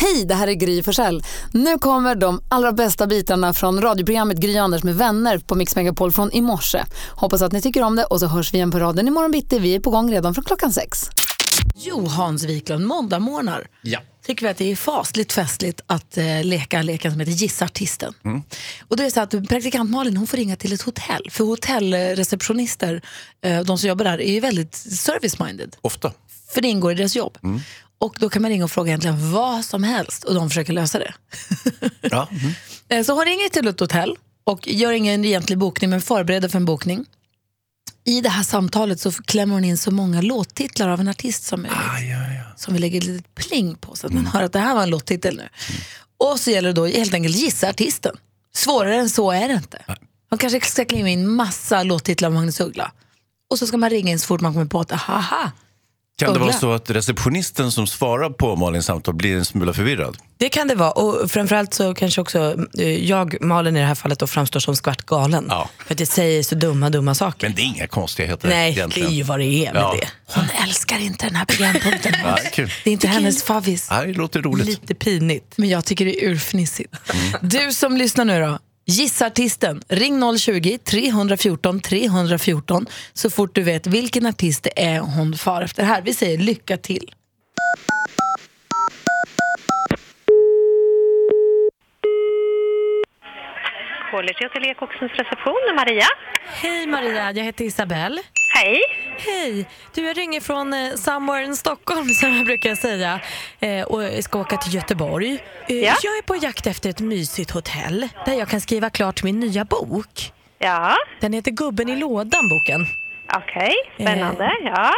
Hej, det här är Gry Forssell. Nu kommer de allra bästa bitarna från radioprogrammet Gry Anders med vänner på Mix Megapol från i morse. Hoppas att ni tycker om det och så hörs vi igen på raden imorgon bitti. Vi är på gång redan från klockan sex. Jo, Hans Wiklund, måndagmorgnar Ja. tycker vi att det är fasligt festligt att eh, leka leken som heter Gissa artisten. Mm. Och det är så att praktikant Malin hon får ringa till ett hotell, för hotellreceptionister, eh, de som jobbar där, är ju väldigt service-minded, Ofta. för det ingår i deras jobb. Mm. Och då kan man ringa och fråga egentligen vad som helst och de försöker lösa det. Ja. Mm. Eh, Så hon ringer till ett hotell och gör ingen egentlig bokning men förbereder för en bokning. I det här samtalet så klämmer hon in så många låttitlar av en artist som möjligt. Som vi lägger ett litet pling på så att man hör att det här var en låttitel nu. Och så gäller det då helt enkelt gissa artisten. Svårare än så är det inte. Man kanske ska klämma in massa låttitlar av Magnus Uggla. Och så ska man ringa in så fort man kommer på att haha, Kan det vara Uggla. så att receptionisten som svarar på Malins samtal blir en smula förvirrad? Det kan det vara. Och framförallt så kanske också eh, jag, Malin i det här fallet, då framstår som skvart galen. Ja. För att jag säger så dumma, dumma saker. Men det är inga konstigheter Nej, egentligen. det är ju vad det är med Ja. det. hon älskar inte den här programpunkten. Ja, det är kul. det är inte hennes favvis. Ja, det låter roligt. Lite pinigt. Men jag tycker det är urfnissigt. Du som lyssnar nu då. Gissa artisten. Ring 020-314 314 så fort du vet vilken artist det är hon far efter här. Vi säger lycka till. Quality Hotel Ekoxens reception. Maria? Hej Maria, jag heter Isabelle. Hej. Hej! Du, jag ringer från eh, somewhere in Stockholm som jag brukar säga eh, och ska åka till Göteborg. Eh, Ja. Jag är på jakt efter ett mysigt hotell där jag kan skriva klart min nya bok. Ja, Den heter Gubben i lådan, boken. Eh. okej. Spännande. Ja.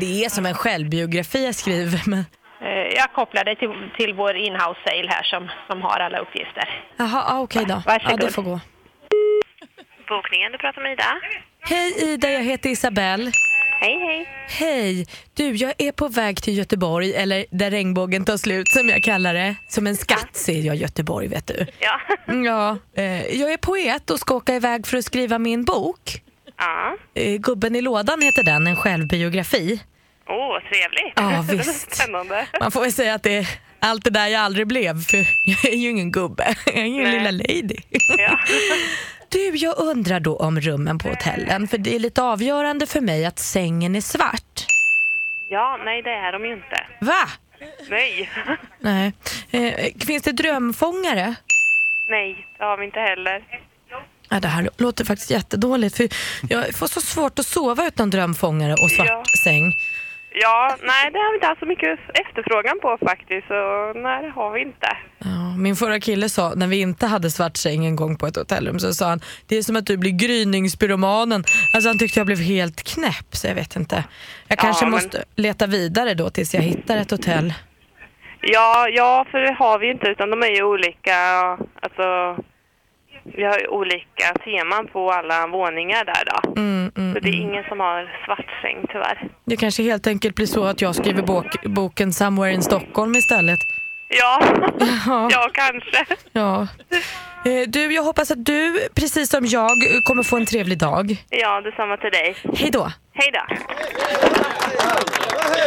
Det är som en självbiografi jag skriver. Men... Eh, Jag kopplar dig till, till vår inhouse sale här som, som har alla uppgifter. Jaha, ah, okej då. Ja, Varsågod. det får gå. Bokningen, du pratar med Ida. Hej Ida, jag heter Isabelle. Hej, hej. Hej! Du, jag är på väg till Göteborg, eller där regnbågen tar slut som jag kallar det. Som en skatt ser jag Göteborg, vet du. Ja. Ja, eh, jag är poet och ska åka iväg för att skriva min bok. Ja. Eh, Gubben i lådan heter den, en självbiografi. Åh, trevligt. Ja, visst. Spännande. Man får väl säga att det är allt det där jag aldrig blev, för jag är ju ingen gubbe. Jag är ju en Nej. lilla lady. Ja. Du, jag undrar då om rummen på hotellen, för det är lite avgörande för mig att sängen är svart. ja, nej det är de ju inte. Va? Nej. Nej. Eh, finns det drömfångare? Nej, det har vi inte heller. Ja, det här låter faktiskt jättedåligt, för jag får så svårt att sova utan drömfångare och svart Ja. säng. Ja, nej det har vi inte alls så mycket efterfrågan på faktiskt. Så nej, det har vi inte. Ja, min förra kille sa, när vi inte hade svart säng en gång på ett hotellrum, så sa han det är som att du blir gryningspyromanen. Alltså han tyckte jag blev helt knäpp, så jag vet inte. Jag kanske men- måste leta vidare då tills jag hittar ett hotell. Ja, ja, för det har vi ju inte utan de är ju olika. Alltså, vi har ju olika teman på alla våningar där då. Mm, så det är ingen som har svart säng tyvärr. Det kanske helt enkelt blir så att jag skriver bok, boken Somewhere in Stockholm istället. Ja, Ja. ja kanske. Ja. Eh, Du, jag hoppas att du, precis som jag, kommer få en trevlig dag. Ja, detsamma till dig. Hej då! Hej då.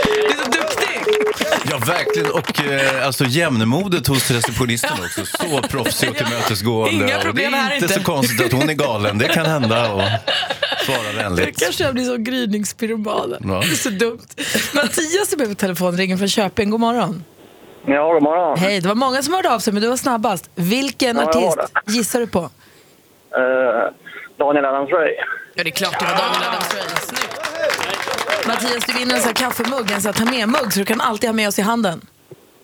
Du är så duktig! Ja, verkligen. Och eh, alltså, jämnmodet hos receptionisten också. Så proffsig och tillmötesgående. Inga Och problem det är här inte inte. så konstigt att hon är galen. Det kan hända. Och svara vänligt. Kanske jag blir som gryningspyromanen. Ja. Det är så dumt. Mattias är med på telefonringen från Köping. God morgon. Ja, god morgon. Hej, det var många som hörde av sig men du var snabbast. Vilken Ja, jag var artist gissar du på? Eh, Daniel Adams-Röj. Ah. Ja, det är klart det var Daniel Adams-Röj. Snyggt. Mattias, du vinner en sån här kaffemugg, en sån här ta med-mugg så du kan alltid ha med oss i handen.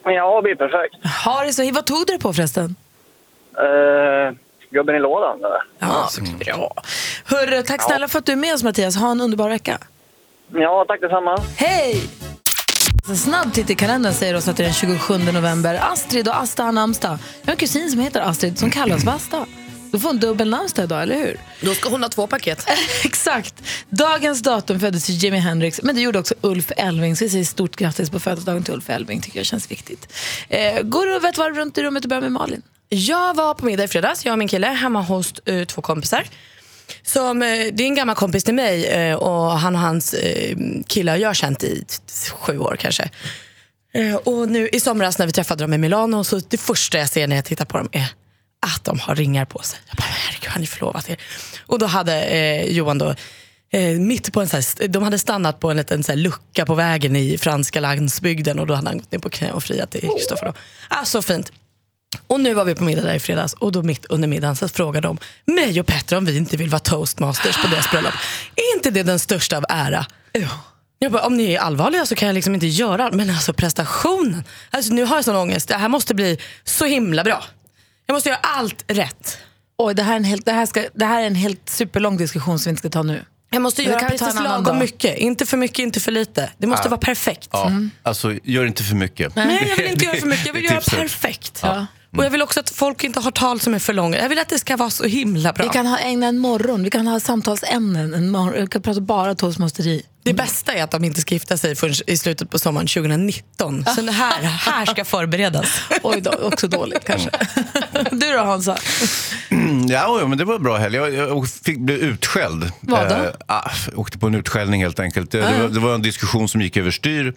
Ja, det blir perfekt. Har det så. Vad tog du det på förresten? Eh, gubben i lådan. där. Ja, Mm. bra. Hörru, tack snälla för att du är med oss Mattias. Ha en underbar vecka. Ja, tack detsamma. Hej! En snabb titt i kalendern säger oss att det är den 27 november. Astrid och Asta har namnsdag. Jag har en kusin som heter Astrid som kallas för Asta. Då får hon dubbel namnsdag idag, eller hur? Då ska hon ha två paket. Exakt. Dagens datum föddes ju Jimi Hendrix, men det gjorde också Ulf Elving. Så vi säger stort grattis på födelsedagen till Ulf Elving. tycker jag känns viktigt. Eh, går du över ett varv runt i rummet och börjar med Malin? Jag var på middag i fredags, jag och min kille, hemma hos eh, två kompisar. Som, eh, det är en gammal kompis till mig eh, och han och hans eh, kille har jag känt i t- sju år kanske. Eh, Och nu i somras när vi träffade dem i Milano, så det första jag ser när jag tittar på dem är att de har ringar på sig. Jag bara, herregud, har ni förlovat er? Och då hade eh, Johan då, eh, mitt på en sån här, de hade stannat på en liten så här, lucka på vägen i franska landsbygden och då hade han gått ner på knä och friat till Kristoffer. då. Ah, så fint. Och nu var vi på middag där i fredags och då mitt under middagen så frågade de mig och Petra om vi inte vill vara toastmasters på deras bröllop. Är inte det den största av ära? Jag bara, om ni är allvarliga så kan jag liksom inte göra det. Men alltså prestationen. Alltså nu har jag sån ångest. Det här måste bli så himla bra. Jag måste göra allt rätt. Oj, det här, är en helt, det, här ska, det här är en helt superlång diskussion som vi inte ska ta nu. Jag måste Men det göra kan vi ta en precis annan lagom dag. mycket. Inte för mycket, inte för lite. Det måste vara perfekt. Ja, Mm. Alltså, gör inte för mycket. Mm. Nej, jag vill inte göra för mycket. Jag vill Det är göra tipset. perfekt. Och jag vill också att folk inte har tal som är för långa. Jag vill att det ska vara så himla bra. Vi kan ha, ägna en morgon, vi kan ha samtalsämnen, en morgon, vi kan prata bara toastmasteri. Det bästa är att de inte ska gifta sig förrän i slutet på sommaren Ah. 2019. Så det här, här ska förberedas. Oj då, också dåligt kanske. Du då Hansa? Ja, ja, men det var en bra helg. Jag, jag fick, blev utskälld. Vad då? Ah, ah, åkte på en utskällning helt enkelt. Det, det, var, det var en diskussion som gick överstyr.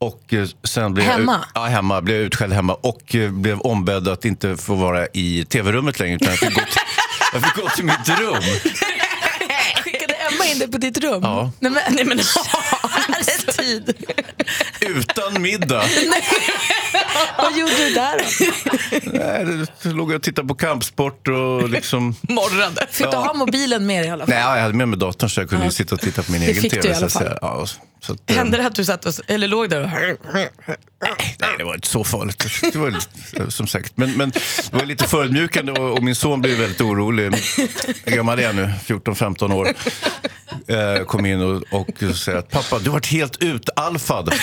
Och eh, sen blev Jag, Hemma? ut- ja, hemma. Blev jag utskälld hemma och eh, blev ombedd att inte få vara i tv-rummet längre. Utan jag fick gå till, jag fick gå till mitt rum. Skickade Emma in dig på ditt rum? Ja. Nej men, nej, men alltså. tid. Utan middag. Vad gjorde du där då? Nej, det låg jag och tittade på kampsport och liksom... Morrade. Fick du ha mobilen med dig i alla fall? Nej, jag hade med mig datorn så jag kunde ju sitta och titta på min egen fick tv. du i så alla att fall. säga. Ja, så att, eh, Hände det att du satt och, s- eller låg där och... Nej, det var inte så farligt. Det var, lite- eh, som sagt. Men, men det var lite förödmjukande och, och min son blev väldigt orolig. Hur gammal är jag nu? 14-15 år. Eh, kom in och, och säger att pappa, du har varit helt utalfad.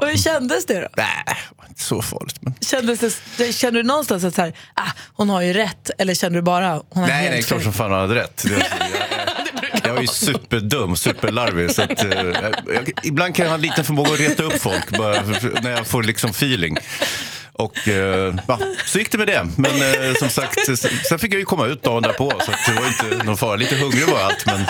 Och hur kändes det då? Nej, det var inte så farligt. Men... Kändes det, kände du någonstans att så här, ah, hon har ju rätt? Eller kände du bara hon har Nej, helt nej, klart fel? som fan han hade rätt. Det, alltså, jag, jag, jag är ju superdum, superlarvig. Så att, eh, jag, jag, ibland kan jag ha en liten förmåga att reta upp folk bara för, för, när jag får liksom feeling. Och eh, ja, så gick det med det. Men eh, som sagt, s- sen fick jag ju komma ut dagen därpå. Så att det var inte någon fara. Lite hungrig var jag allt, men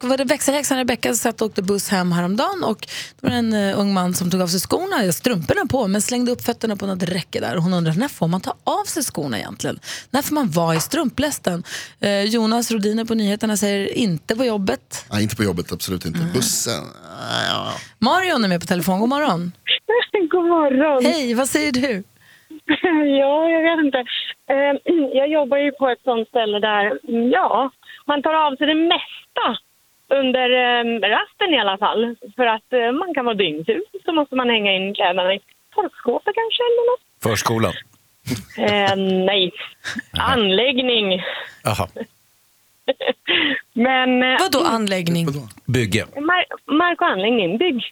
var det växelhäxan Rebecka som satt och åkte buss hem häromdagen och då var det en eh, ung man som tog av sig skorna, ja, strumporna på, men slängde upp fötterna på något räcke där och hon undrar när får man ta av sig skorna egentligen? När får man vara i strumplästen? Eh, Jonas Rodiner på nyheterna säger inte på jobbet. Nej, inte på jobbet, absolut inte. Bussen. Nej, ja. Marion är med på telefon, god morgon. God morgon. Hej, vad säger du? Ja, jag vet inte. Eh, Jag jobbar ju på ett sånt ställe där mm, ja, man tar av sig det mesta under eh, rasten i alla fall. För att eh, man kan vara dyngsur så måste man hänga in kläderna i torkskåpet kanske eller något. förskolan. Eh, nej, anläggning. Aha. Men eh, Vadå anläggning? Vadå? Bygge. mar- mark och anläggning, bygg.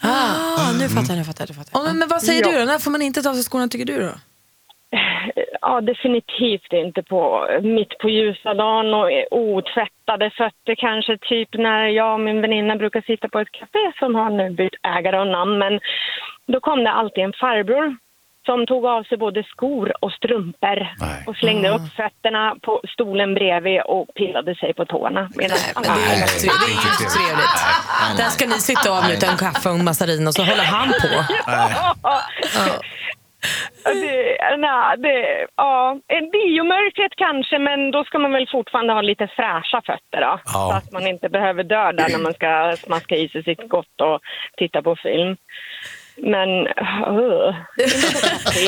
Ah, nu fattar jag, nu fattar jag. Nu fattar jag. Ja, men, men vad säger Ja. du då? När får man inte ta av sig skorna tycker du då? Ja, definitivt inte på mitt på ljusa dagen och otvättade fötter kanske. Typ när jag och min väninna brukar sitta på ett café som har nu bytt ägare och namn. Men då kom det alltid en farbror som tog av sig både skor och strumpor Nej. och slängde Ah. upp fötterna på stolen bredvid och pillade sig på tårna. Medan alla Det är Nej, inte det är trevligt. inte trevligt. Nej, Där nej. ska ni sitta och avnjuta en kaffe och en massarin och så håller han på. Ja, Det, nej, det, ja, biomörkret kanske, men då ska man väl fortfarande ha lite fräscha fötter då. Ja. Så att man inte behöver dö där när man ska smaska i sig sitt gott och titta på film. Men... Uh,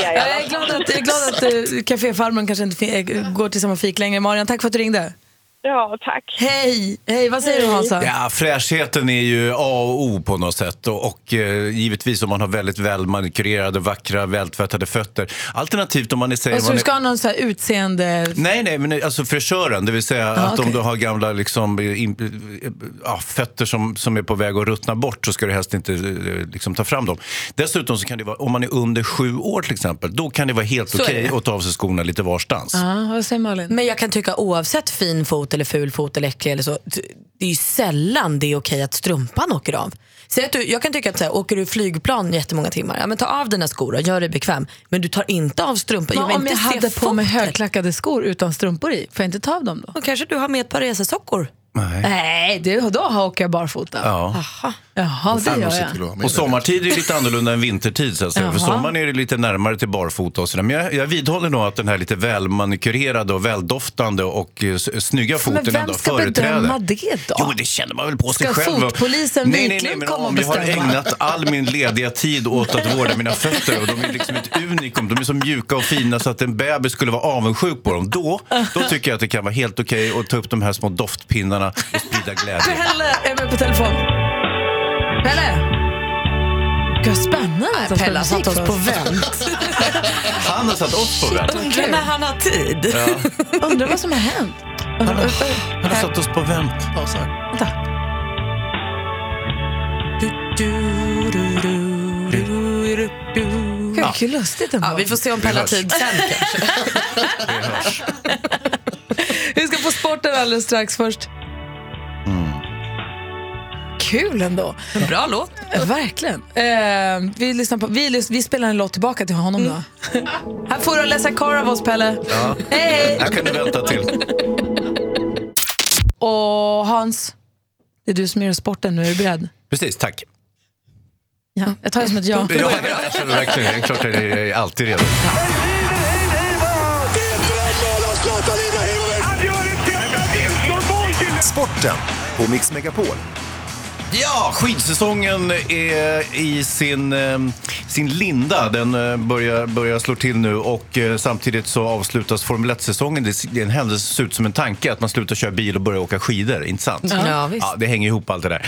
Ja, jag är glad att, jag är glad att eh, kaféfarmen kanske inte fi- eh, går till samma fik längre. Marion, tack för att du ringde. ja, tack. Hej! Hej, vad säger du Hansa? Ja, fräschheten är ju A och O på något sätt. Och, och eh, givetvis om man har väldigt välmanikyrerade, vackra, vältvättade fötter. Alternativt om man är... säger Alltså, man du är... ska ha någon så här utseende... Nej, nej, men alltså frisören, det vill säga att okej. om du har gamla liksom, in, ja, fötter som, som är på väg att ruttna bort så ska du helst inte eh, liksom, ta fram dem. Dessutom så kan det vara, om man är under sju år till exempel, då kan det vara helt är okej det. att ta av sig skorna lite varstans. Ja, Ah, vad säger Malin? Men jag kan tycka oavsett fin fot eller ful fot eller äcklig eller så, t- det är ju sällan det är okej att strumpan åker av. Säg att du, jag kan tycka att så här, åker du flygplan jättemånga timmar, ja, men ta av dina skor och gör dig bekväm. Men du tar inte av strumpan. Men vill om jag inte se hade på mig foten. högklackade skor utan strumpor i, får jag inte ta av dem då? Då kanske du har med ett par resesockor. Nej. Nej, det, då åker jag barfota. Ja. Jaha, det gör jag. Och sommartid är lite annorlunda än vintertid. Så att säga. För Jaha. sommaren är det lite närmare till barfota och sådär. Men jag, jag vidhåller nog att den här lite välmanikurerade och väldoftande och eh, s- snygga foten Men vem ändå har ska företräde. bedöma det då? Jo, det känner man väl på sig Ska själv. fotpolisen nej, nej, nej, Wiklund men komma och om jag har bestämma? ägnat all min lediga tid åt att vårda mina fötter och de är liksom ett unikum. De är så mjuka och fina så att en bebis skulle vara avundsjuk på dem. Då, då tycker jag att det kan vara helt okej att ta upp de här små doftpinnarna och sprida glädje. Pelle är med på telefon. Pelle! Gud, spännande att han Pelle har spelar satt oss musik på för vänt. Han har satt oss på vänt. Undrar när han har tid. Ja. Undrar vad som har hänt. Han, han har satt oss på vänt. Mm. Hur lustigt ändå. Ja, vi får se om Pelle har hörs. tid sen. Vi ska få sporten alldeles strax först. Kul ändå. En bra låt. Verkligen. Eh, vi, lyssnar på, vi, lys- vi spelar en låt tillbaka till honom då. Mm. Här får du läsa kvar av oss, Pelle. Hej, hej! Här kan du vänta till. Och Hans, det är du som gör sporten nu. Är du beredd? Precis, tack. Ja. Jag tar det som ett ja. Ja, alltså, verkligen. Det är klart att jag är alltid redo. Sporten på Mix Megapol. Ja, skidsäsongen är i sin, eh, sin linda. Den eh, börjar, börjar slå till nu och eh, samtidigt så avslutas Formel 1-säsongen. Det är en händelse som ser ut som en tanke att man slutar köra bil och börjar åka skidor. Inte sant? Ja, visst. det hänger ihop allt det där.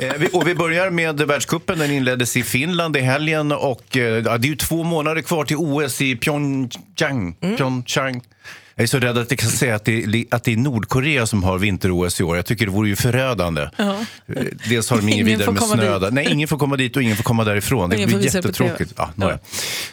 Eh, vi- och vi börjar med världscupen. Den inleddes i Finland i helgen och eh, ja, det är ju två månader kvar till OS i Pyeongchang. Mm. Pyeongchang. Jag är så rädd att jag kan säga att det, är- att det är Nordkorea som har vinter-OS i år. Jag tycker det vore ju förödande. Eh, Dels har de ingen Ingen vidare får med komma snö. dit. där. Nej, ingen får komma dit och ingen får komma därifrån. Det Ingen blir får visa på TV. jättetråkigt. Ja, nåja.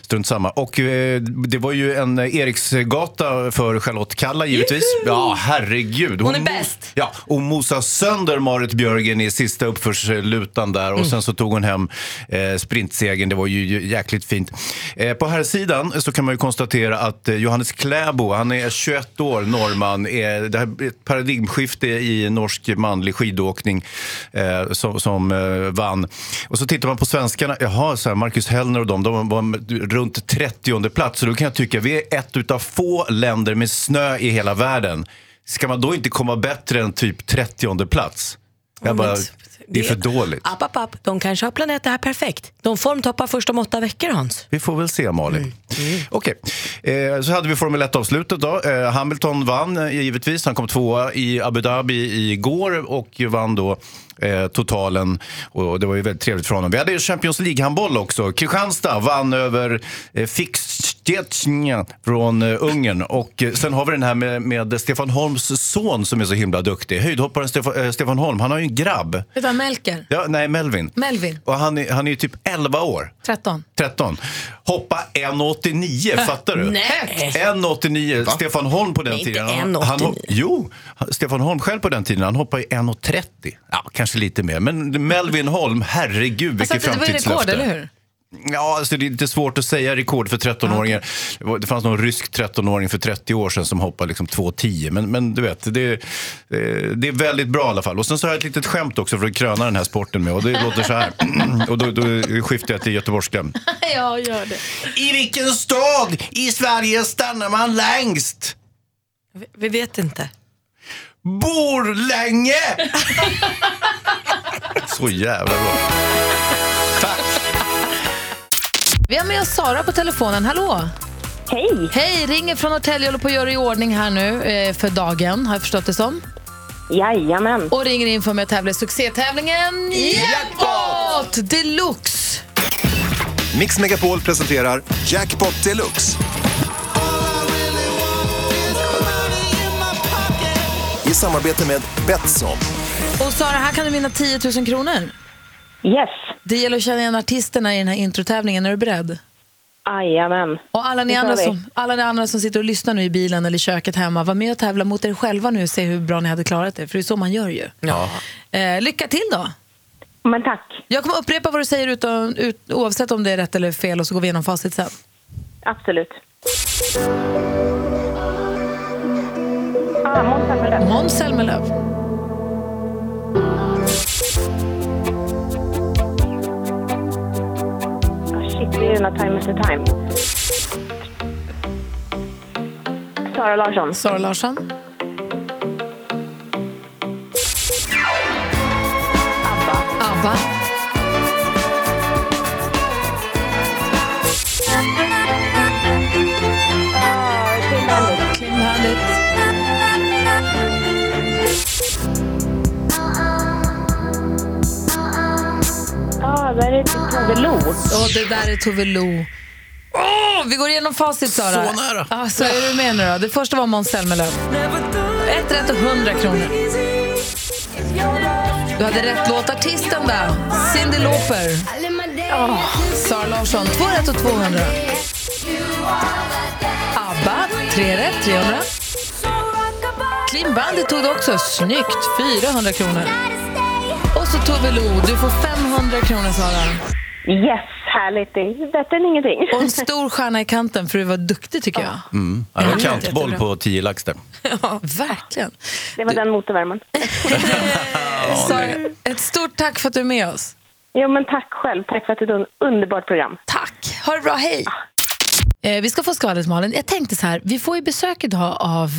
Strunt samma. Och eh, det var ju en Eriksgata för Charlotte Kalla givetvis. Ja, herregud. Hon är mo- bäst. Ja, och mosade sönder Marit Björgen i sista uppförslutan där Mm. och sen så tog hon hem eh, sprintsegern. Det var ju ju jäkligt fint. Eh, på här sidan så kan man ju konstatera att eh, Johannes Kläbo, han är 21 år, norrman. Eh, det här är ett paradigmskifte i norsk manlig skidåkning eh, som, som eh, vann. Och så tittar man på svenskarna. Jaha, så här, Marcus Hellner och de, de var m- runt 30 plats. Så då kan jag tycka vi är ett utav få länder med snö i hela världen. Ska man då inte komma bättre än typ 30 plats? Jag bara, det är för dåligt. App, app, app. De kanske har planerat det här perfekt. De formtoppar först om åtta veckor, Hans. Vi får väl se, Malin. Okej. Eh, så hade vi Formel 1-avslutet. då. Eh, Hamilton vann, eh, givetvis. Han kom tvåa i Abu Dhabi igår och vann då eh, totalen. Och det var ju väldigt trevligt för honom. Vi hade ju Champions League-handboll också. Kristianstad vann över eh, Fixtetjnja från eh, Ungern. Och eh, sen har vi den här med, med Stefan Holms son som är så himla duktig. Höjdhopparen Stefan, eh, Stefan Holm, han har ju en grabb. Det var Melker. Ja, nej, Melvin. Melvin, Och han är, han är ju typ 11 år. 13. 13. Hoppa 1,89, Ah, fattar du? Nej. 1,89. Stefan Holm på den Nej, inte tiden. 1,89. hop- jo, han- Stefan Holm själv på den tiden, han hoppade ju 1,30. Ja, kanske lite mer. Men Melvin Holm, herregud Alltså, vilket det var ju framtidslöfte. rekord, eller hur? Ja, alltså det är lite svårt att säga rekord för 13-åringar. Ah, Det var- Det fanns någon rysk 13-åring för 30 år sedan som hoppade liksom 2,10. Men, men du vet, det, eh, det är väldigt bra i alla fall. Och sen så har jag ett litet skämt också för att kröna den här sporten med. Och det låter så här. Och då, då skiftar jag till göteborgska. Ja, gör det. I vilken stad i Sverige stannar man längst? Vi- Vi vet inte. Borlänge! så jävla bra. Vi har med oss Sara på telefonen. Hallå! Hej! Hej, ringer från Norrtälje och håller på att göra i ordning här nu eh, för dagen, har jag förstått det som. Jajamän. Och ringer in för mig att tävla i succétävlingen Jackpot Deluxe! Mix Megapol presenterar Jackpot Deluxe. I samarbete med Betsson. Och Sara, här kan du vinna 10 000 kronor. Yes. Det gäller att känna igen artisterna i den här introtävlingen. Är du beredd? Jajamän. Och alla ni, Det tar andra vi. som, alla ni andra som sitter och lyssnar nu i bilen eller i köket hemma, var med och tävla mot er själva nu och se hur bra ni hade klarat det. För det är så man gör ju. Eh, lycka till då! Men tack. Jag kommer upprepa vad du säger utan, ut, oavsett om det är rätt eller fel och så går vi igenom facit sen. Absolut. Ah, Måns Zelmerlöw. Måns Zelmerlöw. serierna Time After Time. Sara Larsson. Sara Larsson. ABBA. Clean Bandit. Ja, Ah, där är det Tove Lo. Och det där är Tove Lo. Åh, vi går igenom facit, Sara. Så nära. Ja, så är du med nu då? Det första var Måns Zelmerlöw. Ett rätt och 100 kronor. Du hade rätt låt. Artisten där, Cyndi Lauper. Ah. Oh, Sara Larsson, två rätt och 200. ABBA, tre rätt, 300. Clean Bandit tog du också. Snyggt, 400 kronor. Och så Tove Lo, du får 500 kronor, Sara. Yes, härligt. Det är bättre än ingenting. Och en stor stjärna i kanten, för du var duktig tycker jag. Mm. Ja, det var Ja, kantboll jättebra. på 10 lax där. Ja, verkligen. Det var den motorvärmen. Så, ett stort tack för att du är med oss. Ja, men tack själv. Tack för att det är ett underbart program. Tack. Ha det bra. Hej. Eh, vi ska få skvallret, Malin. Jag tänkte så här, vi får ju besök idag av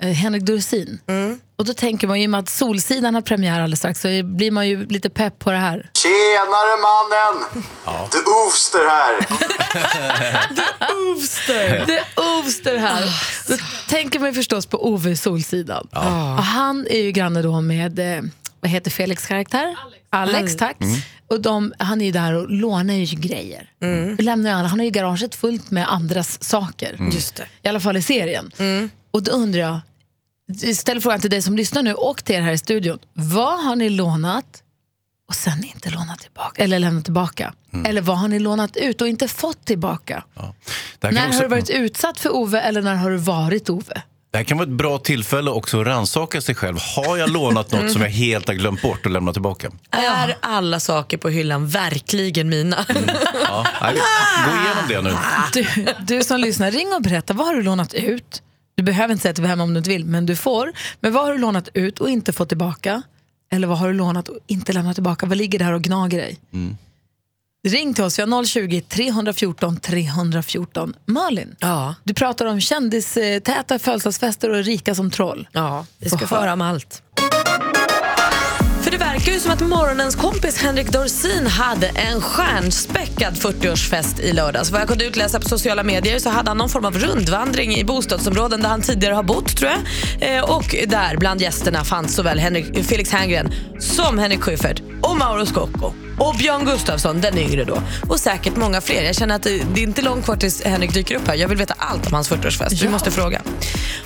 eh, Henrik Dorsin. Mm. Och då tänker man ju, i och med att Solsidan har premiär alldeles strax, så blir man ju lite pepp på det här. Tjenare mannen! The Oofster här! Ovster! Det är Ovster här. Ah, Då tänker man ju förstås på Ove i Solsidan. Och han är ju granne då med, eh, vad heter Felix karaktär? Alex. Alex. tack. Mm. Och de, han är ju där och lånar ju grejer. Och Lämnar ju alla, han har ju garaget fullt med andras saker. Mm. Just det. Mm. I alla fall i serien. Och då undrar jag, jag ställer frågan till dig som lyssnar nu och till er här i studion. Vad har ni lånat och sen inte lånat tillbaka? Eller lämnat tillbaka? Mm. Eller vad har ni lånat ut och inte fått tillbaka? Det här, När kan har också, du varit utsatt för Ove eller när har du varit Ove? det här kan vara ett bra tillfälle också att rannsaka sig själv. Har jag lånat något Mm. som jag helt har glömt bort och lämnat tillbaka? Ah, Är alla saker på hyllan verkligen mina? Ja. Nej, Gå igenom det nu. Du, du som lyssnar, ring och berätta. Vad har du lånat ut? Du behöver inte säga att du är hemma om du inte vill, men du får. Men vad har du lånat ut och inte fått tillbaka? Eller vad har du lånat och inte lämnat tillbaka? Vad ligger där och gnager dig? Mm. Ring till oss, vi har 020 314 314. Malin, ja. du pratar om kändistäta födelsedagsfester och rika som troll. Ja, vi ska få höra om allt. För det verkar ju som att morgonens kompis Henrik Dorsin hade en stjärnspäckad 40-årsfest i lördags. Vad jag kunde utläsa på sociala medier så hade han någon form av rundvandring i bostadsområden där han tidigare har bott tror jag. Eh, Och där bland gästerna fanns såväl Henrik, Felix Herngren som Henrik Schyffert och Mauro Scocco och Björn Gustafsson, den yngre då. Och säkert många fler. Jag känner att det det är inte långt kvar tills Henrik dyker upp här. Jag vill veta allt om hans 40-årsfest. Vi Ja. måste fråga.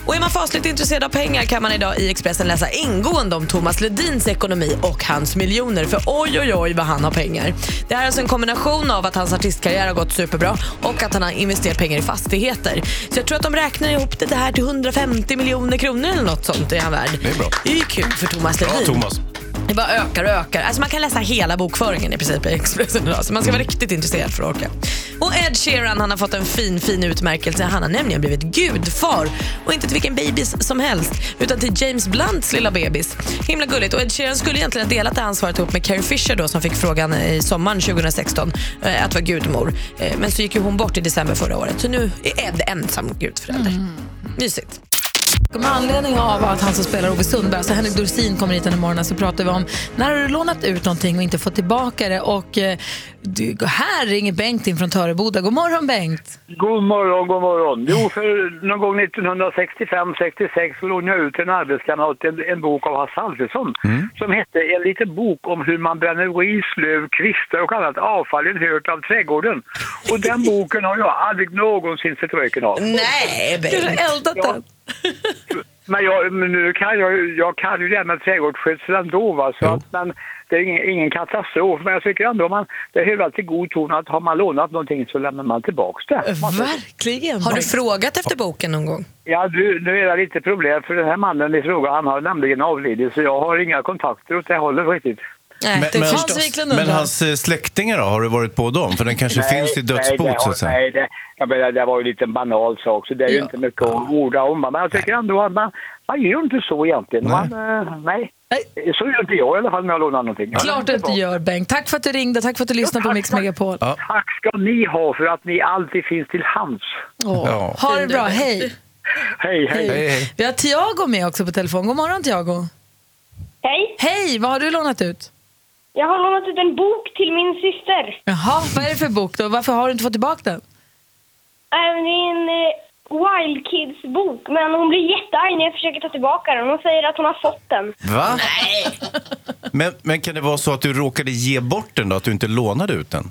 Och är man fasligt intresserad av pengar kan man idag i Expressen läsa ingående om Thomas Ledins ekonomi och hans miljoner. För oj, oj, oj vad han har pengar. Det här är alltså en kombination av att hans artistkarriär har gått superbra och att han har investerat pengar i fastigheter. Så jag tror att de räknar ihop det här till 150 miljoner kronor eller något sånt är han värd. Det är bra. Det är ju kul för Thomas Bra Ledin. Thomas. Det bara ökar och ökar. Alltså man kan läsa hela bokföringen i princip i Expressen idag. Så man ska vara riktigt intresserad för att orka. Och Ed Sheeran han har fått en fin, fin utmärkelse. Han har nämligen blivit gudfar. Och inte till vilken bebis som helst, utan till James Blunts lilla bebis. Himla gulligt. Och Ed Sheeran skulle egentligen ha delat det ansvaret ihop med Carrie Fisher då, som fick frågan i sommaren 2016 eh, att vara gudmor. Eh, Men så gick ju hon bort i december förra året. Så nu är Ed ensam gudförälder. Mysigt. Och Med anledning av att han som spelar Ove Sundberg, alltså Henrik Dorsin, kommer hit den här morgonen så pratar vi om när har du lånat ut någonting och inte fått tillbaka det. Och eh, du, här ringer Bengt in från Töreboda. God morgon Bengt! God morgon, god morgon. Jo, för någon gång 1965-66 så lånade jag ut till en arbetskamrat en, en bok av Hasse Alfredsson som hette En liten bok om hur man bränner ris, löv, kvistar och annat avfall i en hört av trädgården. Och den boken har jag aldrig någonsin sett röken av. Nej, Bengt. Du har eldat den. Men, jag, men nu kan jag, ju- jag kan ju det här med trädgårdsskötsel ändå. Va? Så att, men det är ingen, ingen katastrof. Men jag tycker ändå man, det hör väl till god ton att har man lånat någonting så lämnar man tillbaks det. Verkligen. Har du frågat efter boken någon gång? Ja, du, nu är det lite problem för den här mannen i fråga, han har nämligen avlidit så jag har inga kontakter åt det hållet riktigt. Nej, det men, förstås. Hans Wiklund men undrar. hans eh, släktingar då, har du varit på dem? För den kanske finns i nej, det, dödsbot så har- att säga. nej det, jag menar, det var ju en liten banal sak, så det är ju inte mycket att orda om. Men jag tycker ändå att man, man gör inte så egentligen. Man, eh, nej. Så gör inte jag i alla fall när jag lånar någonting. Klart du inte gör, Bengt. Tack för att du ringde, tack för att du lyssnade på Mix Megapol. Tack ska ni ha för att ni alltid finns till hands. Åh, Ja. Ha det bra, hej. Hej, hej. Vi har Tiago med också på telefon. God morgon Tiago. Hej. Hej, vad har du lånat ut? Jag har lånat ut en bok till min syster. Jaha, vad är det för bok då? Varför har du inte fått tillbaka den? Eh, Det är en eh, Wild Kids-bok, men hon blir jättearg när jag försöker ta tillbaka den. Hon säger att hon har fått den. Va? Men, men kan det vara så att du råkade ge bort den då? Att du inte lånade ut den?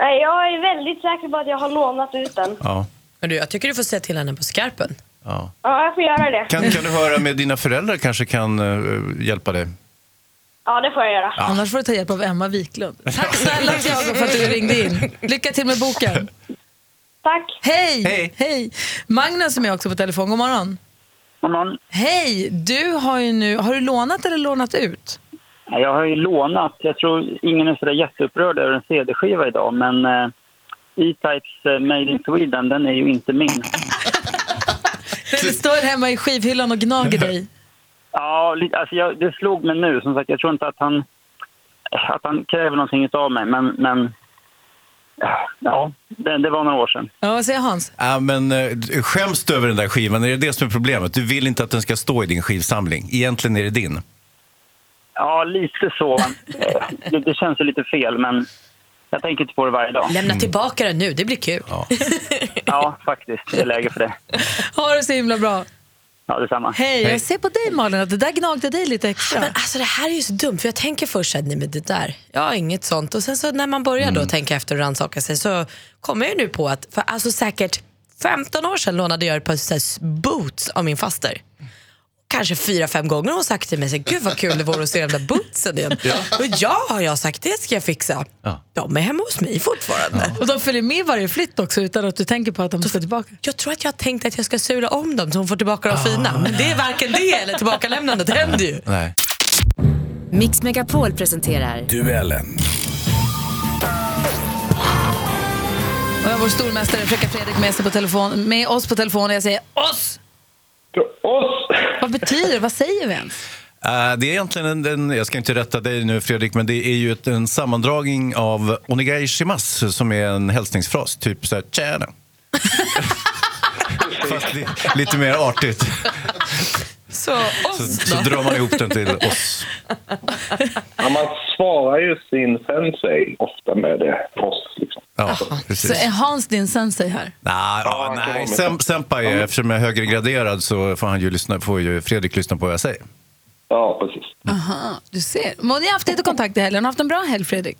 Eh, Jag är väldigt säker på att jag har lånat ut den. Ja. Men du, jag tycker du får säga till henne på skarpen. ja. Ja, jag får göra det. Kan, kan du höra med dina föräldrar kanske kan eh, hjälpa dig? Ja, det får jag göra. Annars får du ta hjälp av Emma Wiklund. Tack snälla Tiago för att du ringde in. Lycka till med boken. Tack. Hej! Hej! Magnus är med också på telefon. God morgon. God morgon. Hej! Du har ju nu, har du lånat eller lånat ut? Ja, Jag har ju lånat. Jag tror ingen är så där jätteupprörd över en CD-skiva idag, men eh, E-Types eh, Made in Sweden, den är ju inte min. Den står hemma i skivhyllan och gnager dig. Ja, li- alltså jag, det slog mig nu. Som sagt, jag tror inte att han, att han kräver någonting av mig, men, men eh, ja, det, det var några år sedan. Ja, vad säger Hans? Ja, men, eh, skäms du över den där skivan? Är det det som är problemet? Du vill inte att den ska stå i din skivsamling. Egentligen är det din. Ja, lite så. Eh, Det, det känns ju lite fel, men jag tänker inte på det varje dag. Mm. Mm. Lämna tillbaka den nu, det blir kul. Ja, faktiskt. Det är läge för det. Ha det så himla bra. Ja, detsamma. Hej, jag ser på dig Malin att det där gnagde dig lite extra. Men alltså det här är ju så dumt, för jag tänker först att nej men det där, jag har inget sånt. Och sen så när man börjar då tänka efter och rannsaka sig så kommer jag ju nu på att, för alltså säkert 15 år sedan lånade jag ett par så här boots av min faster. Kanske fyra, fem gånger har hon sagt till mig, så här, gud vad kul det vore att se de där bootsen igen. Och ja, har jag sagt, det ska jag fixa. De är hemma hos mig fortfarande. Och de följer med varje flytt också utan att du tänker på att de ska tillbaka. Jag tror att jag har tänkt att jag ska sula om dem så hon får tillbaka de Ah. fina. Men det är varken det eller tillbakalämnandet händer ju. Nej. Mix Megapol presenterar... Duellen. Och jag har vår stormästare Fräcka Fredrik med, sig på telefon, med oss på telefon och jag säger oss! Oss! Vad betyder det? Vad säger vi ens? Eh, Det är egentligen en, en, jag ska inte rätta dig nu Fredrik, men det är ju ett, en sammandragning av onegai shimasu som är en hälsningsfras, typ så här tjena. Fast li, lite mer artigt. Så Så, så drar man ihop den till oss. Ja, man svarar ju sin sensei ofta med det. Oss, liksom. Ja, Så är Hans din sensei här? Nej, ja, nej. Sem, senpai, eftersom jag är högre graderad så får, han ju lyssna, får ju Fredrik lyssna på vad jag säger. Ja, precis. Mm. Aha, du ser. Men ni har haft lite kontakt i helgen. Har haft en bra helg Fredrik?